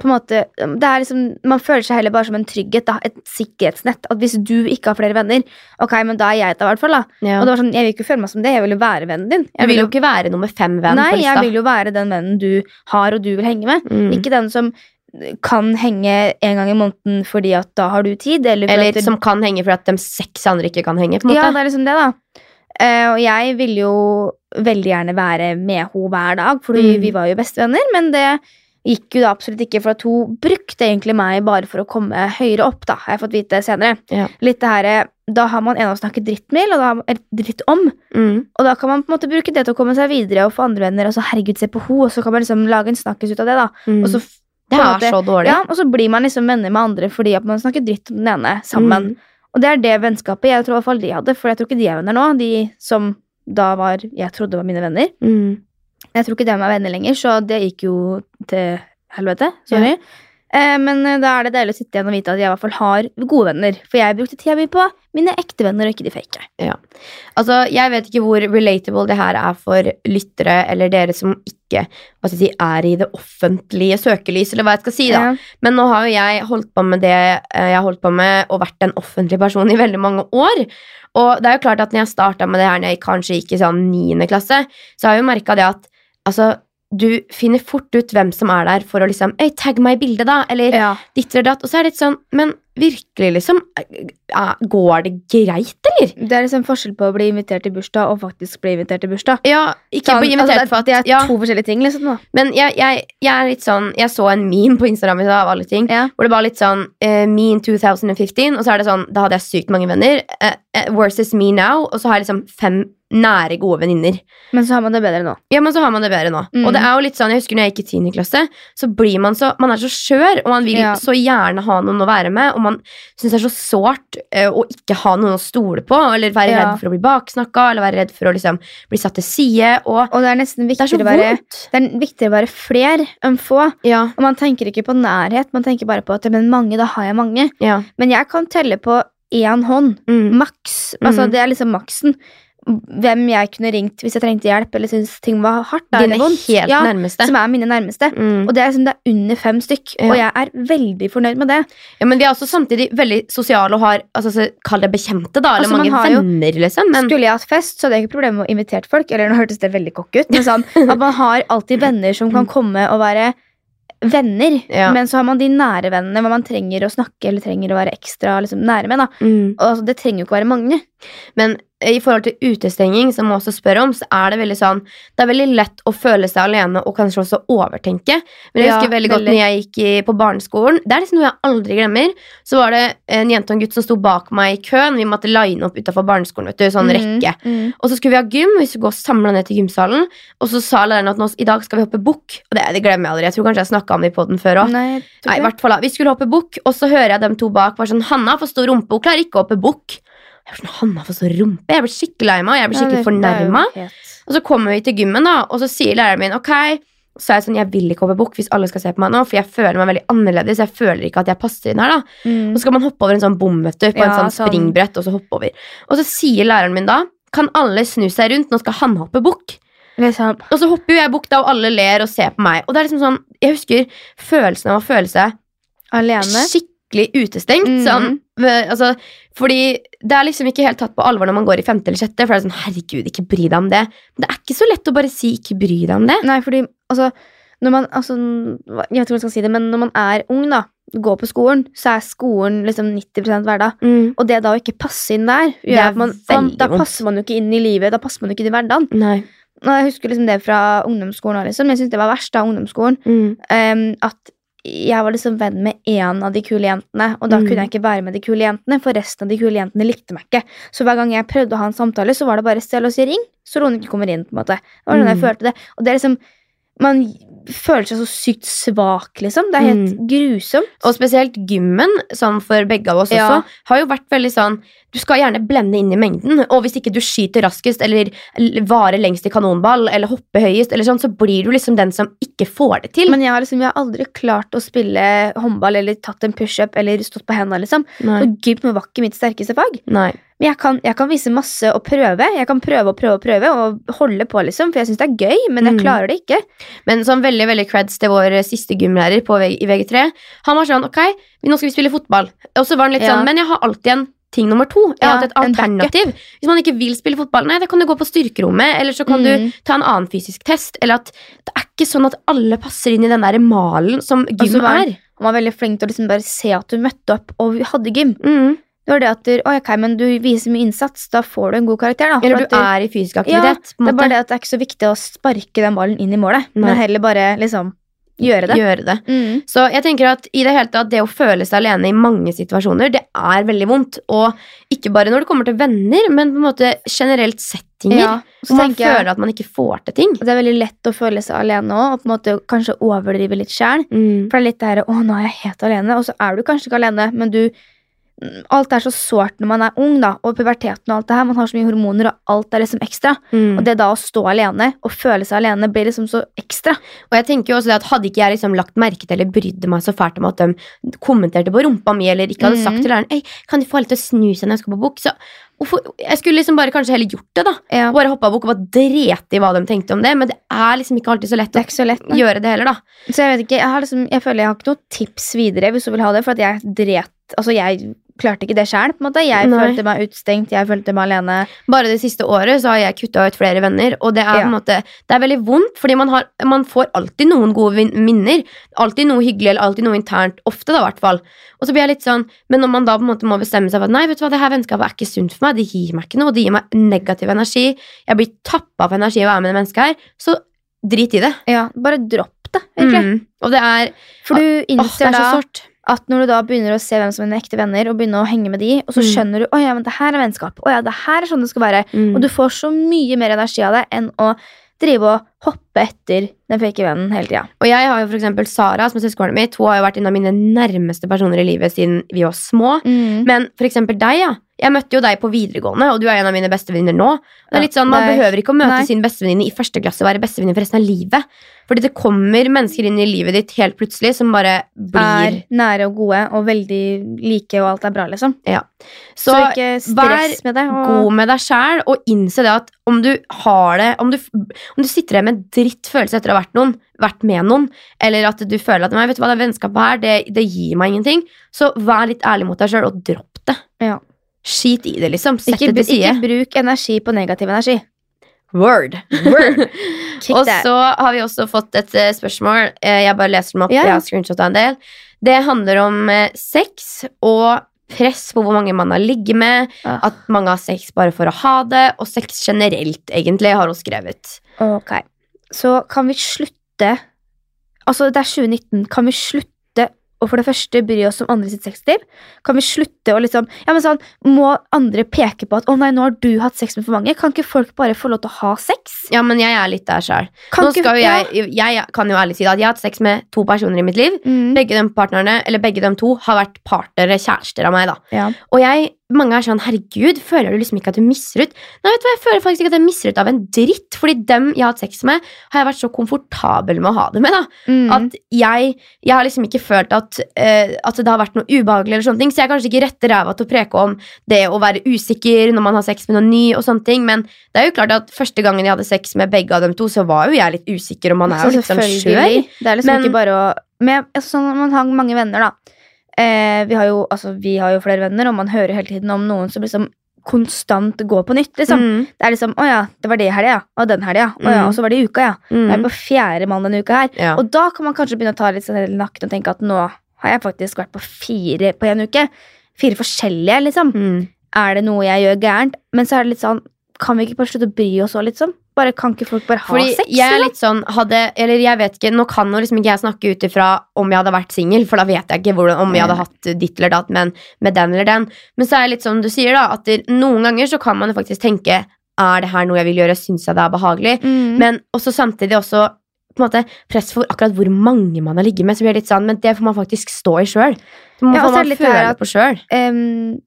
[SPEAKER 1] på en måte, det er liksom, Man føler seg heller bare som en trygghet, da, et sikkerhetsnett. At hvis du ikke har flere venner, ok, men da er jeg et av, i hvert fall. da
[SPEAKER 2] Ja.
[SPEAKER 1] og det var sånn, Jeg vil ikke føle meg som det, jeg vil jo være vennen din.
[SPEAKER 2] jeg
[SPEAKER 1] Jeg
[SPEAKER 2] vil jo ikke være nummer fem-venn
[SPEAKER 1] nei,
[SPEAKER 2] på lista.
[SPEAKER 1] jeg vil jo være den vennen du har og du vil henge med.
[SPEAKER 2] Mm.
[SPEAKER 1] Ikke den som kan henge en gang i måneden fordi at da har du tid. Eller, fordi at
[SPEAKER 2] Eller
[SPEAKER 1] du,
[SPEAKER 2] som kan henge fordi at de seks andre ikke kan henge. på en måte.
[SPEAKER 1] Ja, det er liksom det, da. Eh, og jeg ville jo veldig gjerne være med henne hver dag, for
[SPEAKER 2] Mm.
[SPEAKER 1] vi var jo bestevenner. Men det gikk jo da absolutt ikke, for at hun brukte egentlig meg bare for å komme høyere opp. da, har jeg fått vite senere.
[SPEAKER 2] Ja.
[SPEAKER 1] Litt det her, eh, Da har man en å snakke dritt med, eller da har man- eller dritt om.
[SPEAKER 2] Mm.
[SPEAKER 1] Og da kan man på en måte bruke det til å komme seg videre og få andre venner. Og så herregud, se på ho, og så kan man liksom lage en snakkes ut av det. da.
[SPEAKER 2] Mm.
[SPEAKER 1] Og så, f-
[SPEAKER 2] det
[SPEAKER 1] på en
[SPEAKER 2] er
[SPEAKER 1] måte-
[SPEAKER 2] så dårlig.
[SPEAKER 1] ja, og så blir man liksom venner med andre fordi at man snakker dritt om den ene sammen.
[SPEAKER 2] Mm.
[SPEAKER 1] Og det er det vennskapet jeg tror i hvert fall de hadde, for jeg tror ikke de er venner nå. De som da var, jeg trodde var mine venner.
[SPEAKER 2] Mm.
[SPEAKER 1] Jeg tror ikke de er venner lenger, så det gikk jo til helvete. Sorry. Eh, men eh, da er det deilig å sitte igjen og vite at jeg i hvert fall har gode venner. For jeg brukte tida mi på mine ekte venner, og ikke de fake.
[SPEAKER 2] Altså, Jeg vet ikke hvor relatable det her er for lyttere eller dere som ikke hva skal jeg si, er i det offentlige søkelys, eller hva jeg skal si. da.
[SPEAKER 1] Ja.
[SPEAKER 2] Men nå har jo jeg holdt på med det eh, jeg har holdt på med, og vært en offentlig person i veldig mange år. Og det er jo klart at når jeg starta med det her når jeg kanskje gikk i sånn niende klasse, så har jeg jo merka det at altså, du finner fort ut hvem som er der for å liksom Øy, tagg meg i bildet, da! Eller
[SPEAKER 1] Ja.
[SPEAKER 2] ditt eller datt. Og så er det litt sånn, men virkelig, liksom, eh, går det greit, eller?
[SPEAKER 1] Det er liksom forskjell på å bli invitert til bursdag og faktisk bli invitert til bursdag.
[SPEAKER 2] Ja, ikke
[SPEAKER 1] Sånn,
[SPEAKER 2] bli invitert
[SPEAKER 1] altså, det, er-
[SPEAKER 2] for at
[SPEAKER 1] det er
[SPEAKER 2] ja,
[SPEAKER 1] to forskjellige ting, liksom. Da.
[SPEAKER 2] Men jeg, jeg, jeg er litt sånn Jeg så en meme på Instagram i dag, av alle ting,
[SPEAKER 1] Ja.
[SPEAKER 2] hvor det var litt sånn eh, Me in 2015, og så er det sånn Da hadde jeg sykt mange venner. eh, eh, versus me now, og så har jeg liksom fem nære, gode venninner.
[SPEAKER 1] Men så har man det bedre nå.
[SPEAKER 2] Ja, men så har man det bedre nå.
[SPEAKER 1] Mm.
[SPEAKER 2] Og det er jo litt sånn, jeg husker når jeg gikk i 10. klasse, så blir man så, man er så skjør, og man vil
[SPEAKER 1] Ja.
[SPEAKER 2] så gjerne ha noen å være med, og man synes det er så sårt eh, å ikke ha noen å stole på, eller være
[SPEAKER 1] Ja.
[SPEAKER 2] redd for å bli baksnakket, eller være redd for å liksom bli satt til side, og
[SPEAKER 1] Og det er nesten
[SPEAKER 2] det er så
[SPEAKER 1] viktigere å være
[SPEAKER 2] vondt.
[SPEAKER 1] det er viktigere å være fler enn få.
[SPEAKER 2] Ja,
[SPEAKER 1] Og man tenker ikke på nærhet, man tenker bare på at men mange, da har jeg mange.
[SPEAKER 2] ja.
[SPEAKER 1] Men jeg kan telle på én hånd,
[SPEAKER 2] Mm.
[SPEAKER 1] maks. Altså,
[SPEAKER 2] Mhm.
[SPEAKER 1] Det er liksom maksen. Hvem jeg kunne ringt hvis jeg trengte hjelp eller syntes ting var hardt. da,
[SPEAKER 2] Dine
[SPEAKER 1] eller vondt.
[SPEAKER 2] helt
[SPEAKER 1] ja,
[SPEAKER 2] nærmeste.
[SPEAKER 1] Som er mine nærmeste.
[SPEAKER 2] Mm.
[SPEAKER 1] Og det er, liksom, det er under fem stykk,
[SPEAKER 2] Ja.
[SPEAKER 1] og jeg er veldig fornøyd med det.
[SPEAKER 2] Ja, men vi er også samtidig veldig sosiale og har, altså, så kall det bekjente da, eller
[SPEAKER 1] Altså, man
[SPEAKER 2] mange
[SPEAKER 1] har jo-
[SPEAKER 2] venner liksom, men
[SPEAKER 1] Skulle jeg hatt fest, så hadde jeg ikke problemer med å invitere folk. Eller nå hørtes det veldig kokk ut, men sånn at man har alltid venner som kan komme og være venner.
[SPEAKER 2] Ja.
[SPEAKER 1] Men så har man de nære vennene hvor man trenger å snakke eller trenger å være ekstra liksom, nære med. Da.
[SPEAKER 2] Mm.
[SPEAKER 1] Og altså, det trenger jo ikke være mange.
[SPEAKER 2] Men eh, eh, i forhold til utestenging, som man også spør om, så er det veldig sånn Det er veldig lett å føle seg alene og kanskje også overtenke. Men jeg
[SPEAKER 1] Ja,
[SPEAKER 2] husker veldig godt
[SPEAKER 1] veldig.
[SPEAKER 2] når jeg gikk i, på barneskolen. Det er liksom noe jeg aldri glemmer. Så var det en jente og en gutt som sto bak meg i køen. Vi måtte line opp utafor barneskolen, vet du. Sånn rekke.
[SPEAKER 1] Mm.
[SPEAKER 2] Og så skulle vi ha gym, og vi skulle gå samla ned til gymsalen. Og så sa læreren at nå, i dag skal vi hoppe bukk. Og det, det glemmer jeg aldri. Jeg tror kanskje jeg snakka om det på den før òg.
[SPEAKER 1] Nei, jeg tror
[SPEAKER 2] Nei, i
[SPEAKER 1] ikke det.
[SPEAKER 2] hvert fall da. Vi skulle hoppe bukk, og så hører jeg dem to bak bare sånn Hanna får stor rumpe, hun klarer ikke å hoppe bukk. Jeg var sånn, Hanna får stor rumpe? Jeg ble skikkelig lei meg, og jeg ble
[SPEAKER 1] Ja, det-
[SPEAKER 2] skikkelig
[SPEAKER 1] det er jo
[SPEAKER 2] fornærma.
[SPEAKER 1] helt-
[SPEAKER 2] Og så kommer vi til gymmen, da, og så sier læreren min ok. Så er jeg sånn, jeg vil ikke hoppe bukk hvis alle skal se på meg nå, for jeg føler meg veldig annerledes. Jeg føler ikke at jeg passer inn her, da.
[SPEAKER 1] Mm.
[SPEAKER 2] Og så skal man hoppe over en sånn bom, vet du, på en
[SPEAKER 1] Ja,
[SPEAKER 2] sånn
[SPEAKER 1] sånn.
[SPEAKER 2] springbrett, og så hoppe over. Og så sier læreren min da, kan alle snu seg rundt, nå skal han hoppe bukk.
[SPEAKER 1] Det er sant.
[SPEAKER 2] Og så hopper jo jeg bukk da, og alle ler og ser på meg. Og det er liksom sånn, jeg husker følelsen av å føle seg
[SPEAKER 1] Alene.
[SPEAKER 2] skikkelig utestengt.
[SPEAKER 1] Mhm.
[SPEAKER 2] sånn, øh, altså, fordi det er liksom ikke helt tatt på alvor når man går i femte eller sjette. For det er sånn, herregud, ikke bry deg om det. Men det er ikke så lett å bare si 'ikke bry deg om det'.
[SPEAKER 1] Nei, fordi altså, når man, altså, hva- Jeg vet ikke hvordan jeg skal si det, men når man er ung, da, går på skolen, så er skolen liksom 90 hverdag. Og det da å ikke passe inn der,
[SPEAKER 2] Det
[SPEAKER 1] gjør
[SPEAKER 2] er
[SPEAKER 1] at man, man,
[SPEAKER 2] veldig
[SPEAKER 1] da
[SPEAKER 2] vondt.
[SPEAKER 1] passer man jo ikke inn i livet. Da passer man jo ikke inn i hverdagen.
[SPEAKER 2] Nei.
[SPEAKER 1] Og jeg husker liksom det fra ungdomsskolen òg, liksom. Jeg syns det var verst da, ungdomsskolen. em, at jeg var liksom venn med én av de kule jentene, og da
[SPEAKER 2] Mm.
[SPEAKER 1] kunne jeg ikke være med de kule jentene, for resten av de kule jentene likte meg ikke. Så hver gang jeg prøvde å ha en samtale, så var det bare stell og si ring, så Lone ikke kommer inn, på en måte. Det var sånn jeg
[SPEAKER 2] Mm.
[SPEAKER 1] følte det. Og det er liksom Man føler seg så sykt svak, liksom. Det er helt grusomt.
[SPEAKER 2] Mm. Og spesielt gymmen, sånn for begge av oss
[SPEAKER 1] Ja.
[SPEAKER 2] også, har jo vært veldig sånn Du skal gjerne blende inn i mengden, og hvis ikke du skyter raskest eller l- varer lengst i kanonball eller hopper høyest, eller sånn, så blir du liksom den som ikke får det til.
[SPEAKER 1] Men jeg har liksom Jeg har aldri klart å spille håndball eller tatt en pushup eller stått på henda, liksom.
[SPEAKER 2] Nei.
[SPEAKER 1] Og gym var ikke mitt sterkeste fag.
[SPEAKER 2] Nei.
[SPEAKER 1] Men jeg kan, jeg kan vise masse og prøve. Jeg kan prøve og prøve og prøve og holde på, liksom. For jeg syns det er gøy, men jeg
[SPEAKER 2] Mm.
[SPEAKER 1] klarer det ikke.
[SPEAKER 2] Men sånn veldig veldig creds til vår eh, siste gymlærer på VG, i VG3. Han var sånn Ok, vi- nå skal vi spille fotball. Og så var han litt
[SPEAKER 1] Ja.
[SPEAKER 2] sånn Men jeg har alltid en ting nummer to. Jeg
[SPEAKER 1] Ja,
[SPEAKER 2] har alltid et
[SPEAKER 1] en backup.
[SPEAKER 2] alternativ. Hvis man ikke vil spille fotball, nei, da kan du gå på styrkerommet. Eller så kan du
[SPEAKER 1] Mm.
[SPEAKER 2] ta en annen fysisk test. Eller at det er ikke sånn at alle passer inn i den der malen som gym
[SPEAKER 1] så var han-
[SPEAKER 2] er.
[SPEAKER 1] Han var veldig flink til å liksom bare se at du møtte opp og hadde gym.
[SPEAKER 2] Mm.
[SPEAKER 1] Det var det at du, «Oi, ok, men du viser mye innsats, da får du en god karakter. Da, For
[SPEAKER 2] Eller
[SPEAKER 1] at
[SPEAKER 2] du er i fysisk aktivitet. på en
[SPEAKER 1] det er
[SPEAKER 2] måte.
[SPEAKER 1] bare det at det er ikke så viktig å sparke den ballen inn i målet,
[SPEAKER 2] Nei.
[SPEAKER 1] men heller bare liksom gjøre det.
[SPEAKER 2] Gjøre det.
[SPEAKER 1] Mm.
[SPEAKER 2] Så jeg tenker at i det hele tatt, det å føle seg alene i mange situasjoner, det er veldig vondt. Og ikke bare når det kommer til venner, men på en måte generelt settinger.
[SPEAKER 1] Ja,
[SPEAKER 2] Hvor
[SPEAKER 1] så
[SPEAKER 2] man
[SPEAKER 1] tenker jeg
[SPEAKER 2] føler at man ikke får til ting.
[SPEAKER 1] at det er veldig lett å føle seg alene òg, og på en måte kanskje overdrive litt sjæl.
[SPEAKER 2] Mm,
[SPEAKER 1] For det er litt det her, å nå er jeg helt alene, og så er du kanskje ikke alene, men du Alt er så sårt når man er ung, da, og puberteten og alt det her. Man har så mye hormoner, og alt er liksom ekstra.
[SPEAKER 2] Mm.
[SPEAKER 1] Og det da å stå alene og føle seg alene blir liksom så ekstra.
[SPEAKER 2] Og jeg tenker jo også det at Hadde ikke jeg liksom lagt merke til eller brydde meg så fælt om at de kommenterte på rumpa mi, eller ikke hadde
[SPEAKER 1] Mm.
[SPEAKER 2] sagt til læreren «Ei, kan de få alle til å snu seg når jeg skal på bukk, så hvorfor, Jeg skulle liksom bare kanskje heller gjort det, da.
[SPEAKER 1] Ja.
[SPEAKER 2] Bare hoppa bukk og bare drete i hva de tenkte om det. Men det er liksom ikke alltid så lett
[SPEAKER 1] Det
[SPEAKER 2] å
[SPEAKER 1] er ikke så lett. nei.
[SPEAKER 2] gjøre det heller, da.
[SPEAKER 1] Så jeg vet ikke, jeg, har liksom, jeg føler jeg har ikke noe tips videre hvis du vil ha det, for at jeg dret Altså, jeg klarte ikke det sjæl, på en måte. Jeg
[SPEAKER 2] Nei.
[SPEAKER 1] følte meg utestengt, jeg følte meg alene.
[SPEAKER 2] Bare det siste året så har jeg kutta ut flere venner, og det
[SPEAKER 1] Ja.
[SPEAKER 2] er på en måte Det er veldig vondt, fordi man, har, man får alltid noen gode vin- minner. Alltid noe hyggelig, eller alltid noe internt. Ofte, da, i hvert fall. Og så blir jeg litt sånn Men når man da på en måte må bestemme seg for at nei, vet du hva, det her vennskapet er ikke sunt for meg, det gir meg ikke noe, det gir meg negativ energi, jeg blir tappa av energi av å være med det mennesket her, så drit i det.
[SPEAKER 1] Ja, bare dropp det, egentlig.
[SPEAKER 2] Mm. Og det er
[SPEAKER 1] For du
[SPEAKER 2] Åh, det
[SPEAKER 1] innser
[SPEAKER 2] er så
[SPEAKER 1] da
[SPEAKER 2] sårt.
[SPEAKER 1] at når du da begynner å se hvem som er dine ekte venner, og begynner å henge med de, og så
[SPEAKER 2] Mm.
[SPEAKER 1] skjønner du «Å ja, men det her er vennskap, Å ja, det her er sånn det skal være,
[SPEAKER 2] Mm.
[SPEAKER 1] og du får så mye mer energi av det enn å drive og hoppe etter den fake vennen hele tida.
[SPEAKER 2] Og jeg har jo for eksempel Sara, som er søskenbarnet mitt, hun har jo vært en av mine nærmeste personer i livet siden vi var små. Men for eksempel deg, ja. Jeg møtte jo deg på videregående, og du er en av mine bestevenninner nå. Det
[SPEAKER 1] Ja,
[SPEAKER 2] er litt sånn, Man
[SPEAKER 1] det er-
[SPEAKER 2] behøver ikke å møte
[SPEAKER 1] nei.
[SPEAKER 2] sin bestevenninne i første klasse og være bestevenninne for resten av livet. Fordi det kommer mennesker inn i livet ditt helt plutselig som bare
[SPEAKER 1] Er
[SPEAKER 2] blir
[SPEAKER 1] nære og gode og veldig like, og alt er bra, liksom.
[SPEAKER 2] Så,
[SPEAKER 1] Så, ikke stress med det. Og,
[SPEAKER 2] god med deg sjæl, og innse det at om du har det Om du, om du sitter der med en dritt følelse etter å ha vært, noen, vært med noen, eller at du føler at nei, vet du hva, det vennskapet her, det, det gir meg ingenting, så vær litt ærlig mot deg sjøl, og dropp det.
[SPEAKER 1] Ja.
[SPEAKER 2] Skit i det, liksom. Sett
[SPEAKER 1] ikke,
[SPEAKER 2] det til
[SPEAKER 1] ikke
[SPEAKER 2] side.
[SPEAKER 1] bruk energi på negativ energi.
[SPEAKER 2] Word.
[SPEAKER 1] Kick
[SPEAKER 2] og
[SPEAKER 1] that.
[SPEAKER 2] så har vi også fått et eh, spørsmål. Eh, Jeg bare leser dem opp.
[SPEAKER 1] Ja, ja.
[SPEAKER 2] Jeg har screenshotet en del. Det handler om eh, sex og press på hvor mange man har ligget med,
[SPEAKER 1] Ah.
[SPEAKER 2] at mange har sex bare for å ha det, og sex generelt, egentlig, har hun skrevet.
[SPEAKER 1] Ok. Så kan vi slutte Altså, det er 2019. Kan vi slutte å for det første bry oss om andre sitt sexliv? Kan vi slutte å liksom Ja, men sånn, Må andre peke på at 'Å nei, nå har du hatt sex med for mange'? Kan ikke folk bare få lov til å ha sex?
[SPEAKER 2] Ja, men jeg er litt der sjøl.
[SPEAKER 1] Kan ikke- ja.
[SPEAKER 2] Jeg, jeg kan jo ærlig si at jeg har hatt sex med to personer i mitt liv.
[SPEAKER 1] Mm.
[SPEAKER 2] Begge de partnerne, eller begge de to har vært partnere, kjærester av meg. da
[SPEAKER 1] Ja.
[SPEAKER 2] Og jeg, mange er sånn 'herregud, føler du liksom ikke at du misser ut?' Nei, vet du hva, jeg føler faktisk ikke at jeg misser ut av en dritt, fordi dem jeg har hatt sex med, har jeg vært så komfortabel med å ha det med. da
[SPEAKER 1] Mm.
[SPEAKER 2] At jeg, jeg har liksom ikke følt at, eh, at det har vært noe ubehagelig, eller sånne ting, så jeg er kanskje ikke rette ræva til å preke om det å være usikker når man har sex med noen ny, og sånne ting, men det er jo klart at første gangen jeg hadde sex med begge av dem to, så var jo jeg litt usikker, og man er
[SPEAKER 1] Altså,
[SPEAKER 2] jo litt sånn skjør.
[SPEAKER 1] selvfølgelig. Det er liksom
[SPEAKER 2] Men-
[SPEAKER 1] ikke bare å men, altså, sånn, når Man har mange venner, da. Eh, vi, har jo, altså, vi har jo flere venner, og man hører hele tiden om noen som liksom konstant går på nytt. liksom.
[SPEAKER 2] Mm,
[SPEAKER 1] Det er liksom 'Å ja, det var det i helga, ja. Og den helga, ja. Å ja.
[SPEAKER 2] Mm.
[SPEAKER 1] Og så var det i uka, ja.
[SPEAKER 2] mm,
[SPEAKER 1] Jeg er på fjerde mann denne uka her.
[SPEAKER 2] ja.
[SPEAKER 1] Og da kan man kanskje begynne å ta litt seg selv i nakken og tenke at nå har jeg faktisk vært på fire på én uke. Fire forskjellige, liksom.
[SPEAKER 2] Mm.
[SPEAKER 1] Er det noe jeg gjør gærent? Men så er det litt sånn Kan vi ikke bare slutte å bry oss òg, liksom? Bare, kan ikke folk bare ha
[SPEAKER 2] Fordi
[SPEAKER 1] sex?
[SPEAKER 2] jeg er
[SPEAKER 1] eller?
[SPEAKER 2] litt sånn hadde, Eller jeg vet ikke, nå kan jo liksom ikke jeg snakke ut ifra om jeg hadde vært singel, for da vet jeg ikke hvordan, om jeg hadde hatt ditt eller datt, men med den eller den. Men så er det litt sånn du sier, da, at det- noen ganger så kan man jo faktisk tenke Er det her noe jeg vil gjøre? Syns jeg det er behagelig?
[SPEAKER 1] Mm.
[SPEAKER 2] Men også samtidig også på en måte press for akkurat hvor mange man har ligget med. Så blir det litt sånn, Men det får man faktisk stå i sjøl. Det må
[SPEAKER 1] Ja, og så er
[SPEAKER 2] får man
[SPEAKER 1] det litt det her
[SPEAKER 2] føle
[SPEAKER 1] at-
[SPEAKER 2] på sjøl.
[SPEAKER 1] Em, ehm,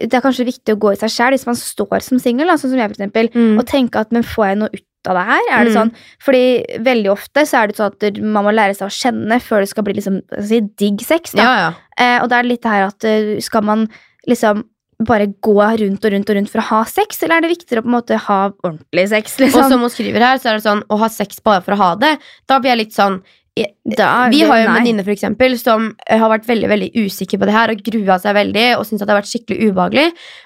[SPEAKER 1] det er kanskje viktig å gå i seg sjæl hvis man står som singel, da, sånn som jeg, for eksempel. og tenke at men får jeg noe ut av det her? Er det
[SPEAKER 2] Mm.
[SPEAKER 1] sånn, fordi veldig ofte så er det sånn at man må lære seg å kjenne før det skal bli liksom, hva skal jeg si, digg sex. Da.
[SPEAKER 2] Ja, ja.
[SPEAKER 1] Eh, og da er det litt det her at eh, skal man liksom bare gå rundt og rundt og rundt for å ha sex, eller er det viktigere å på en måte ha ordentlig sex? Liksom?
[SPEAKER 2] Og som hun skriver her, så er det sånn å ha sex bare for å ha det. Da blir jeg litt sånn
[SPEAKER 1] Da er
[SPEAKER 2] Vi
[SPEAKER 1] Ah, det-
[SPEAKER 2] har jo en
[SPEAKER 1] nei.
[SPEAKER 2] venninne for eksempel, som eh, har vært veldig veldig usikker på det her og grua seg veldig. og synes at det har vært skikkelig ubehagelig.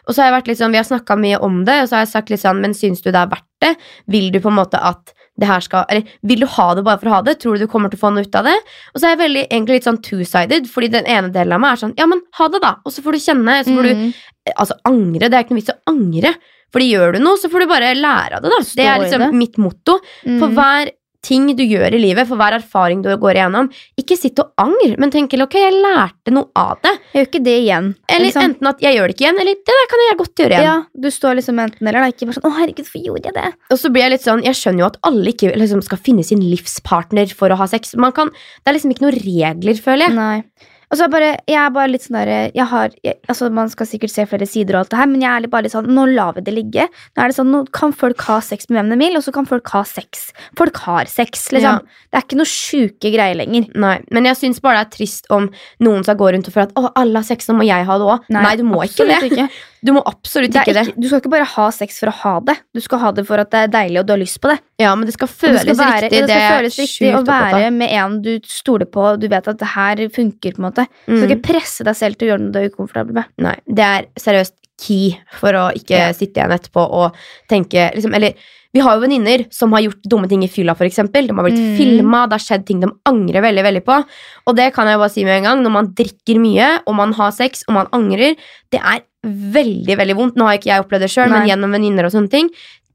[SPEAKER 2] Og så har jeg vært litt sånn, Vi har snakka mye om det, og så har jeg sagt litt sånn Men syns du det er verdt det? Vil du på en måte at det her skal, eller vil du ha det bare for å ha det? Tror du du kommer til å få noe ut av det? Og så er jeg veldig, egentlig litt sånn two-sided, fordi den ene delen av meg er sånn Ja, men ha det, da! Og så får du kjenne. så får du,
[SPEAKER 1] Mm.
[SPEAKER 2] altså angre, Det er ikke noe vits å angre. Fordi gjør du noe, så får du bare lære av det. da. Det
[SPEAKER 1] i
[SPEAKER 2] er liksom
[SPEAKER 1] det.
[SPEAKER 2] mitt motto. For
[SPEAKER 1] Mm.
[SPEAKER 2] hver ting du gjør i livet, for hver erfaring du går igjennom, ikke sitt og angr, men tenk til, ok, jeg lærte noe av det.
[SPEAKER 1] Jeg gjør ikke det igjen.
[SPEAKER 2] Eller
[SPEAKER 1] liksom.
[SPEAKER 2] enten at jeg gjør det ikke igjen, eller det der kan jeg godt gjøre igjen.
[SPEAKER 1] ja, du står liksom enten eller, da. Ikke bare sånn 'Å, herregud, hvorfor gjorde jeg det?'
[SPEAKER 2] Og så blir jeg litt sånn, jeg skjønner jo at alle ikke liksom, skal finne sin livspartner for å ha sex. Man kan, det er liksom ikke noen regler, føler jeg.
[SPEAKER 1] Nei. Og så er jeg bare, jeg er bare litt sånn der, jeg har, jeg, altså Man skal sikkert se flere sider, og alt det her men jeg er litt bare litt sånn Nå lar vi det ligge. Nå er det sånn, nå kan folk ha sex med hvem de vil, og så kan folk ha sex. Folk har sex,
[SPEAKER 2] Ja.
[SPEAKER 1] liksom. Det er ikke noe sjuke greier lenger.
[SPEAKER 2] Nei, Men jeg syns bare det er trist om noen skal gå rundt og føle at å, alle har sex, nå må jeg ha det òg. Nei, du må ikke det.
[SPEAKER 1] absolutt ikke.
[SPEAKER 2] Du må absolutt
[SPEAKER 1] Det
[SPEAKER 2] ikke
[SPEAKER 1] er
[SPEAKER 2] det.
[SPEAKER 1] ikke, du skal ikke bare ha sex for å ha det. Du skal ha det for at det er deilig og du har lyst på det.
[SPEAKER 2] Ja, men det skal
[SPEAKER 1] Og
[SPEAKER 2] føles
[SPEAKER 1] det skal være,
[SPEAKER 2] riktig.
[SPEAKER 1] det skal
[SPEAKER 2] er
[SPEAKER 1] føles
[SPEAKER 2] jeg
[SPEAKER 1] riktig
[SPEAKER 2] sjukt
[SPEAKER 1] å
[SPEAKER 2] opptatt av.
[SPEAKER 1] være med en du stoler på, og du vet at det her funker. på en måte Du skal
[SPEAKER 2] Mm.
[SPEAKER 1] ikke presse deg selv til å gjøre noe du er ukomfortabel med.
[SPEAKER 2] Nei, det er seriøst key for å ikke
[SPEAKER 1] Ja.
[SPEAKER 2] sitte igjen etterpå og tenke liksom, Eller vi har jo venninner som har gjort dumme ting i fylla, f.eks. De har blitt
[SPEAKER 1] Mm.
[SPEAKER 2] filma, det har skjedd ting de angrer veldig veldig på. Og det kan jeg bare si med en gang, når man drikker mye, og man har sex, og man angrer, det er veldig veldig vondt. Nå har ikke jeg opplevd det sjøl, men
[SPEAKER 1] Nei.
[SPEAKER 2] gjennom venninner og sånne ting.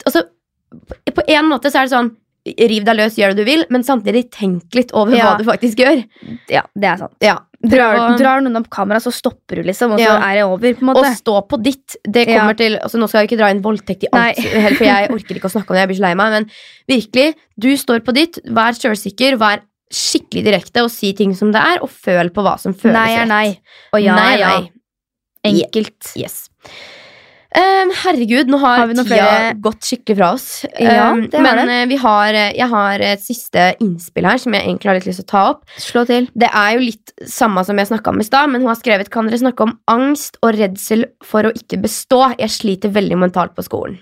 [SPEAKER 2] Altså, på en måte så er det sånn Riv deg løs, gjør det du vil, men samtidig tenk litt over
[SPEAKER 1] Ja.
[SPEAKER 2] hva du faktisk gjør.
[SPEAKER 1] Ja, det er sant.
[SPEAKER 2] Ja,
[SPEAKER 1] Drar,
[SPEAKER 2] Prøv å-
[SPEAKER 1] drar noen opp kamera, så stopper du, liksom, og så
[SPEAKER 2] Ja.
[SPEAKER 1] er det over. på en
[SPEAKER 2] Og
[SPEAKER 1] måte.
[SPEAKER 2] stå på ditt. Det
[SPEAKER 1] Ja.
[SPEAKER 2] kommer til, altså Nå skal jeg ikke dra inn voldtekt i alt, heller, for jeg orker ikke å snakke om det. jeg blir så lei meg, Men virkelig, du står på ditt. Vær sjølsikker, vær skikkelig direkte og si ting som det er, og føl på hva som føles
[SPEAKER 1] nei er nei, og ja
[SPEAKER 2] Nei
[SPEAKER 1] er ja.
[SPEAKER 2] er nei.
[SPEAKER 1] Enkelt.
[SPEAKER 2] Yes. Um, herregud, nå har,
[SPEAKER 1] Har vi noen
[SPEAKER 2] tida
[SPEAKER 1] flere-
[SPEAKER 2] gått skikkelig fra oss.
[SPEAKER 1] Ja,
[SPEAKER 2] Um,
[SPEAKER 1] det har
[SPEAKER 2] men
[SPEAKER 1] den.
[SPEAKER 2] eh, vi har, eh, jeg har et siste innspill her som jeg egentlig har litt lyst til å ta opp.
[SPEAKER 1] Slå til.
[SPEAKER 2] Det er jo litt samme som jeg snakka om i stad, men hun har skrevet Kan dere snakke om angst og redsel for å ikke bestå? Jeg sliter veldig mentalt på skolen.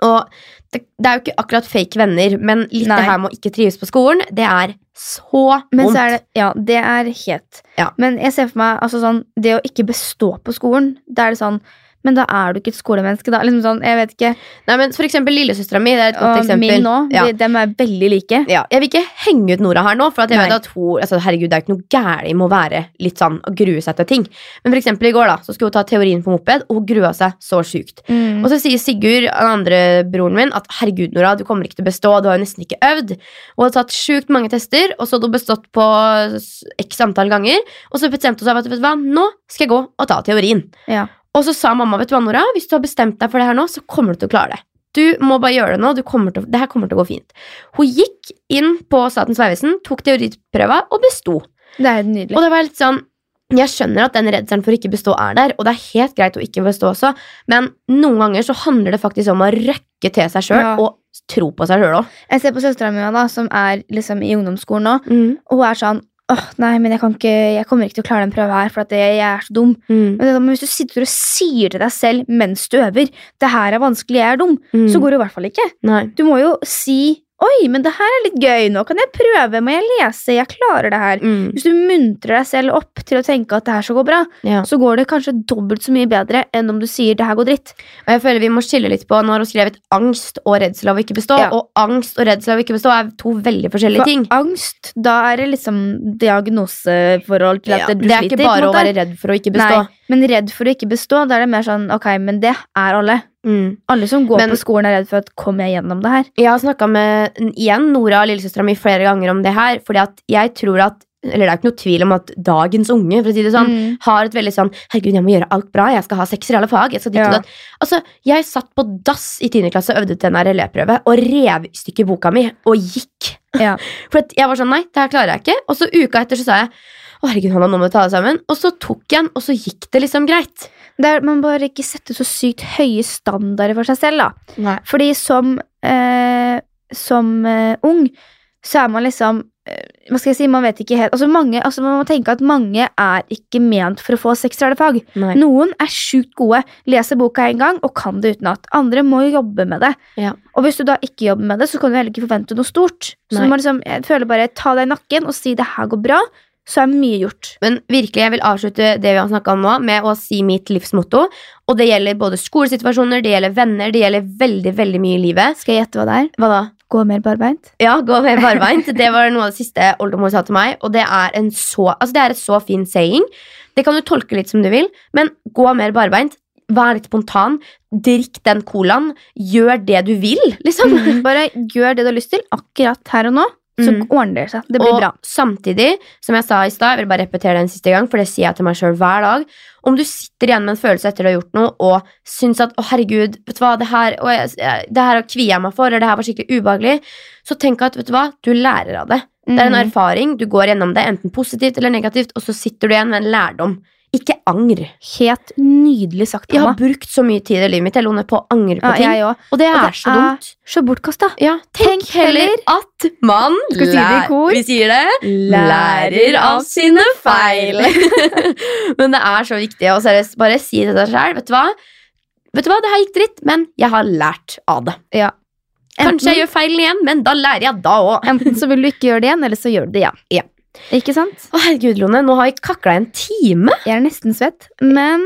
[SPEAKER 2] Og det, det er jo ikke akkurat fake venner, men litt
[SPEAKER 1] Nei.
[SPEAKER 2] det her med å ikke trives på skolen, det er så
[SPEAKER 1] Men
[SPEAKER 2] vondt.
[SPEAKER 1] så er det, ja, det er het.
[SPEAKER 2] Ja.
[SPEAKER 1] Men jeg ser for meg altså sånn, det å ikke bestå på skolen. Da er det sånn Men da er du ikke et skolemenneske, da. Liksom sånn, jeg vet ikke.
[SPEAKER 2] Nei, men for eksempel Lillesøstera mi det er et godt
[SPEAKER 1] Og
[SPEAKER 2] eksempel.
[SPEAKER 1] min nå,
[SPEAKER 2] Ja.
[SPEAKER 1] de, dem er veldig like.
[SPEAKER 2] Ja, jeg vil ikke henge ut Nora her nå, for at jeg
[SPEAKER 1] Nei.
[SPEAKER 2] vet at hun altså, Herregud, det er ikke noe gærent i å være litt sånn og grue seg til ting. Men for eksempel i går, da, så skulle hun ta teorien på moped, og hun grua seg så sjukt.
[SPEAKER 1] Mm.
[SPEAKER 2] Og så sier Sigurd, den andre broren min, at herregud, Nora, du kommer ikke til å bestå, du har jo nesten ikke øvd. Hun hadde tatt sjukt mange tester, og så hadde hun bestått på s- x antall ganger. Og så bestemte hun seg for at vet du hva, nå skal jeg gå og ta teorien.
[SPEAKER 1] Ja.
[SPEAKER 2] Og så sa mamma, vet du hva, Nora, hvis du har bestemt deg for det her nå, så kommer du til å klare det. Du må bare gjøre det nå, du kommer til, å- det her kommer til å gå fint. Hun gikk inn på Statens vegvesen, tok teoriprøva og besto.
[SPEAKER 1] Det er helt nydelig.
[SPEAKER 2] Og det var litt sånn Jeg skjønner at den redselen for å ikke bestå er der, og det er helt greit å ikke bestå også, men noen ganger så handler det faktisk om å røkke til seg sjøl
[SPEAKER 1] Ja.
[SPEAKER 2] og tro på seg sjøl òg.
[SPEAKER 1] Jeg ser på søstera mi, da, som er liksom i ungdomsskolen nå, og hun er sånn Åh, nei, men jeg, kan ikke, jeg kommer ikke til å klare den prøven her, for at jeg, jeg er så dum. Men, det er sånn, men hvis du sitter og sier til deg selv mens du øver 'det her er vanskelig, jeg er dum',
[SPEAKER 2] Mm.
[SPEAKER 1] så går det i hvert fall ikke.
[SPEAKER 2] Nei.
[SPEAKER 1] Du må jo si 'oi, men det her er litt gøy, nå kan jeg prøve, må jeg lese, jeg klarer det
[SPEAKER 2] Mm.
[SPEAKER 1] her'. Hvis du muntrer deg selv opp til å tenke at det her skal gå bra,
[SPEAKER 2] Ja.
[SPEAKER 1] så går det kanskje dobbelt så mye bedre enn om du sier 'det her går dritt'.
[SPEAKER 2] Og jeg føler vi må skille litt på når hun skrevet angst og redsel av å ikke bestå.
[SPEAKER 1] Ja.
[SPEAKER 2] Og angst og redsel av å ikke bestå er to veldig forskjellige
[SPEAKER 1] For
[SPEAKER 2] ting.
[SPEAKER 1] angst, da er det liksom diagnoseforhold til at
[SPEAKER 2] Ja,
[SPEAKER 1] du
[SPEAKER 2] det er
[SPEAKER 1] sliter.
[SPEAKER 2] ikke
[SPEAKER 1] på en
[SPEAKER 2] bare å
[SPEAKER 1] måte.
[SPEAKER 2] være redd for å ikke bestå.
[SPEAKER 1] Nei, men redd for å ikke bestå, da er det mer sånn ok, men det er alle.
[SPEAKER 2] Mm.
[SPEAKER 1] Alle som går
[SPEAKER 2] Men-
[SPEAKER 1] på skolen er redd for at kommer jeg gjennom det her?
[SPEAKER 2] Jeg har snakka med n- igjen Nora og lillesøstera mi flere ganger om det her. Fordi at jeg tror at Eller det er ikke noe tvil om at dagens unge for å si det sånn,
[SPEAKER 1] Mm.
[SPEAKER 2] har et veldig sånn 'Herregud, jeg må gjøre alt bra. Jeg skal ha sekser i alle fag.' Jeg skal ditt
[SPEAKER 1] Ja.
[SPEAKER 2] og datt. Altså, jeg satt på dass i 10. klasse og øvde til en RLE-prøve og rev i stykker boka mi og gikk.
[SPEAKER 1] Ja.
[SPEAKER 2] For at jeg var sånn 'Nei, det her klarer jeg ikke.' Og så uka etter så sa jeg 'Å, herregud, Hanna, nå må du ta deg sammen.' Og så tok jeg den, og så gikk det liksom greit.
[SPEAKER 1] Det er, man bare ikke setter så sykt høye standarder for seg selv, da.
[SPEAKER 2] Nei.
[SPEAKER 1] Fordi som, eh, som eh, ung, så er man liksom eh, Hva skal jeg si, man vet ikke helt altså mange, altså Man må tenke at mange er ikke ment for å få seks rare fag.
[SPEAKER 2] Nei.
[SPEAKER 1] Noen er sjukt gode, leser boka en gang og kan det utenat. Andre må jo jobbe med det.
[SPEAKER 2] Ja.
[SPEAKER 1] Og hvis du da ikke jobber med det, så kan du heller ikke forvente noe stort. Så
[SPEAKER 2] Nei.
[SPEAKER 1] du må liksom, jeg føler bare ta deg i nakken og si det her går bra, så er mye gjort.
[SPEAKER 2] Men virkelig, jeg vil avslutte det vi har snakka om nå, med å si mitt livsmotto. Og det gjelder både skolesituasjoner, det gjelder venner, det gjelder veldig veldig mye i livet.
[SPEAKER 1] Skal jeg gjette hva det er?
[SPEAKER 2] Hva da?
[SPEAKER 1] Gå mer barbeint?
[SPEAKER 2] Ja, gå med barbeint. Det var noe av det siste oldemor sa til meg, og det er, en så, altså det er et så fin saying. Det kan du tolke litt som du vil, men gå mer barbeint. Vær litt spontan. Drikk den colaen. Gjør det du vil, liksom.
[SPEAKER 1] Mhm. Bare gjør det du har lyst til akkurat her og nå, så
[SPEAKER 2] Mhm.
[SPEAKER 1] ordner det seg. Det blir
[SPEAKER 2] og
[SPEAKER 1] bra.
[SPEAKER 2] samtidig, som jeg sa i stad, jeg vil bare repetere det en siste gang, for det sier jeg til meg sjøl hver dag. Om du sitter igjen med en følelse etter du har gjort noe og syns at 'Å, herregud, vet du hva, det her, og jeg, jeg- det her kvier jeg meg for', eller 'det her var skikkelig ubehagelig', så tenk at vet du hva, du lærer av det. Det er en
[SPEAKER 1] Mhm.
[SPEAKER 2] erfaring, du går gjennom det, enten positivt eller negativt, og så sitter du igjen med en lærdom. Ikke angr.
[SPEAKER 1] Helt nydelig sagt,
[SPEAKER 2] Jeg har
[SPEAKER 1] Hanna.
[SPEAKER 2] brukt så mye tid i livet mitt jeg Lone, på å angre på
[SPEAKER 1] Ja,
[SPEAKER 2] ting,
[SPEAKER 1] jeg òg.
[SPEAKER 2] og det er
[SPEAKER 1] og det
[SPEAKER 2] så
[SPEAKER 1] er-
[SPEAKER 2] dumt.
[SPEAKER 1] Så bortkasta.
[SPEAKER 2] Ja, tenk,
[SPEAKER 1] Tenk
[SPEAKER 2] heller
[SPEAKER 1] heller
[SPEAKER 2] at man
[SPEAKER 1] Skal vi si det i
[SPEAKER 2] lær-
[SPEAKER 1] kor?
[SPEAKER 2] Vi sier det. lærer av sine feil. men det er så viktig å seriøst bare si det til deg selv. Vet du hva? Vet du hva, det her gikk dritt, men jeg har lært av det.
[SPEAKER 1] Ja.
[SPEAKER 2] Kanskje jeg gjør feilen igjen, men da lærer jeg da òg.
[SPEAKER 1] Enten så vil du ikke gjøre det igjen, eller så gjør du det igjen.
[SPEAKER 2] Ja.
[SPEAKER 1] Ikke sant?
[SPEAKER 2] Å herregud, Lone, nå har vi kakla i en time.
[SPEAKER 1] Jeg er nesten svett, men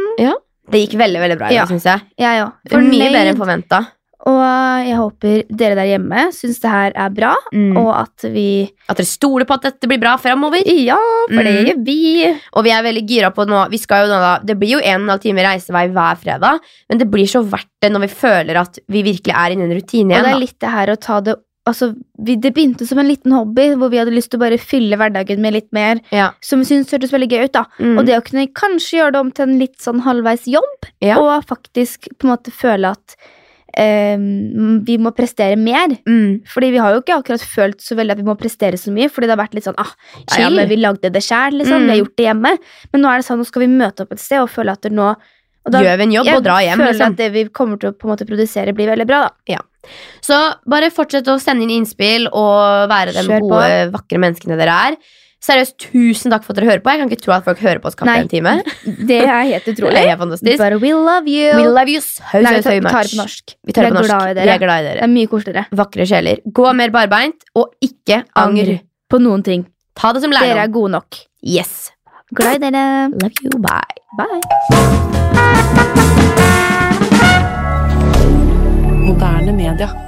[SPEAKER 2] Det gikk veldig veldig bra. i dag,
[SPEAKER 1] Ja.
[SPEAKER 2] synes jeg.
[SPEAKER 1] jeg òg.
[SPEAKER 2] Mye bedre enn forventa.
[SPEAKER 1] Og jeg håper dere der hjemme syns det her er bra,
[SPEAKER 2] Mm.
[SPEAKER 1] og at vi
[SPEAKER 2] At dere stoler på at dette blir bra framover.
[SPEAKER 1] Ja, for det
[SPEAKER 2] Mm.
[SPEAKER 1] gjør vi.
[SPEAKER 2] Og vi er veldig gira på nå vi skal jo nå da, Det blir jo en og en halv time reisevei hver fredag, men det blir så verdt det når vi føler at vi virkelig er inne i en rutine
[SPEAKER 1] Og
[SPEAKER 2] igjen.
[SPEAKER 1] det
[SPEAKER 2] da.
[SPEAKER 1] er litt det her å ta det Altså, vi, Det begynte som en liten hobby hvor vi hadde lyst til å bare fylle hverdagen med litt mer.
[SPEAKER 2] Ja.
[SPEAKER 1] Som vi syntes hørtes veldig gøy ut. da.
[SPEAKER 2] Mm.
[SPEAKER 1] Og det å kunne kanskje gjøre det om til en litt sånn halvveis jobb,
[SPEAKER 2] Ja.
[SPEAKER 1] og faktisk på en måte føle at eh, vi må prestere mer.
[SPEAKER 2] Mm.
[SPEAKER 1] Fordi vi har jo ikke akkurat følt så veldig at vi må prestere så mye. Fordi det har vært litt sånn ah,
[SPEAKER 2] Ja, ja,
[SPEAKER 1] chill,
[SPEAKER 2] men-
[SPEAKER 1] vi lagde det sjæl, liksom.
[SPEAKER 2] Mm.
[SPEAKER 1] Vi har gjort det hjemme. Men nå er det sånn, nå skal vi møte opp et sted og føle at det nå og da-
[SPEAKER 2] gjør vi en jobb og drar hjem.
[SPEAKER 1] føler
[SPEAKER 2] Liksom.
[SPEAKER 1] at det vi kommer til å på en måte produsere, blir veldig bra, da.
[SPEAKER 2] Så bare fortsett å sende inn innspill og være de
[SPEAKER 1] Kjør på.
[SPEAKER 2] gode, vakre menneskene dere er. Seriøst, tusen takk for at dere hører på. Jeg kan ikke tro at folk hører på oss
[SPEAKER 1] Nei,
[SPEAKER 2] kaptein en time.
[SPEAKER 1] Det er helt
[SPEAKER 2] Det
[SPEAKER 1] utrolig.
[SPEAKER 2] er helt fantastisk.
[SPEAKER 1] But we love you.
[SPEAKER 2] We love you so, so,
[SPEAKER 1] Nei, vi
[SPEAKER 2] so
[SPEAKER 1] tar, vi tar
[SPEAKER 2] much.
[SPEAKER 1] det på norsk.
[SPEAKER 2] Vi tar
[SPEAKER 1] Vi
[SPEAKER 2] det på
[SPEAKER 1] er
[SPEAKER 2] norsk.
[SPEAKER 1] glad i dere. Um,
[SPEAKER 2] Vi er glad i
[SPEAKER 1] Det
[SPEAKER 2] dere.
[SPEAKER 1] er mye koseligere.
[SPEAKER 2] Vakre sjeler. Gå mer barbeint, og ikke angr.
[SPEAKER 1] Angr. På noen ting.
[SPEAKER 2] Ta det som
[SPEAKER 1] Dere
[SPEAKER 2] lærdom.
[SPEAKER 1] er gode nok.
[SPEAKER 2] Yes.
[SPEAKER 1] Glad i dere.
[SPEAKER 2] Love you. Bye.
[SPEAKER 1] Bye.
[SPEAKER 3] Moderne media.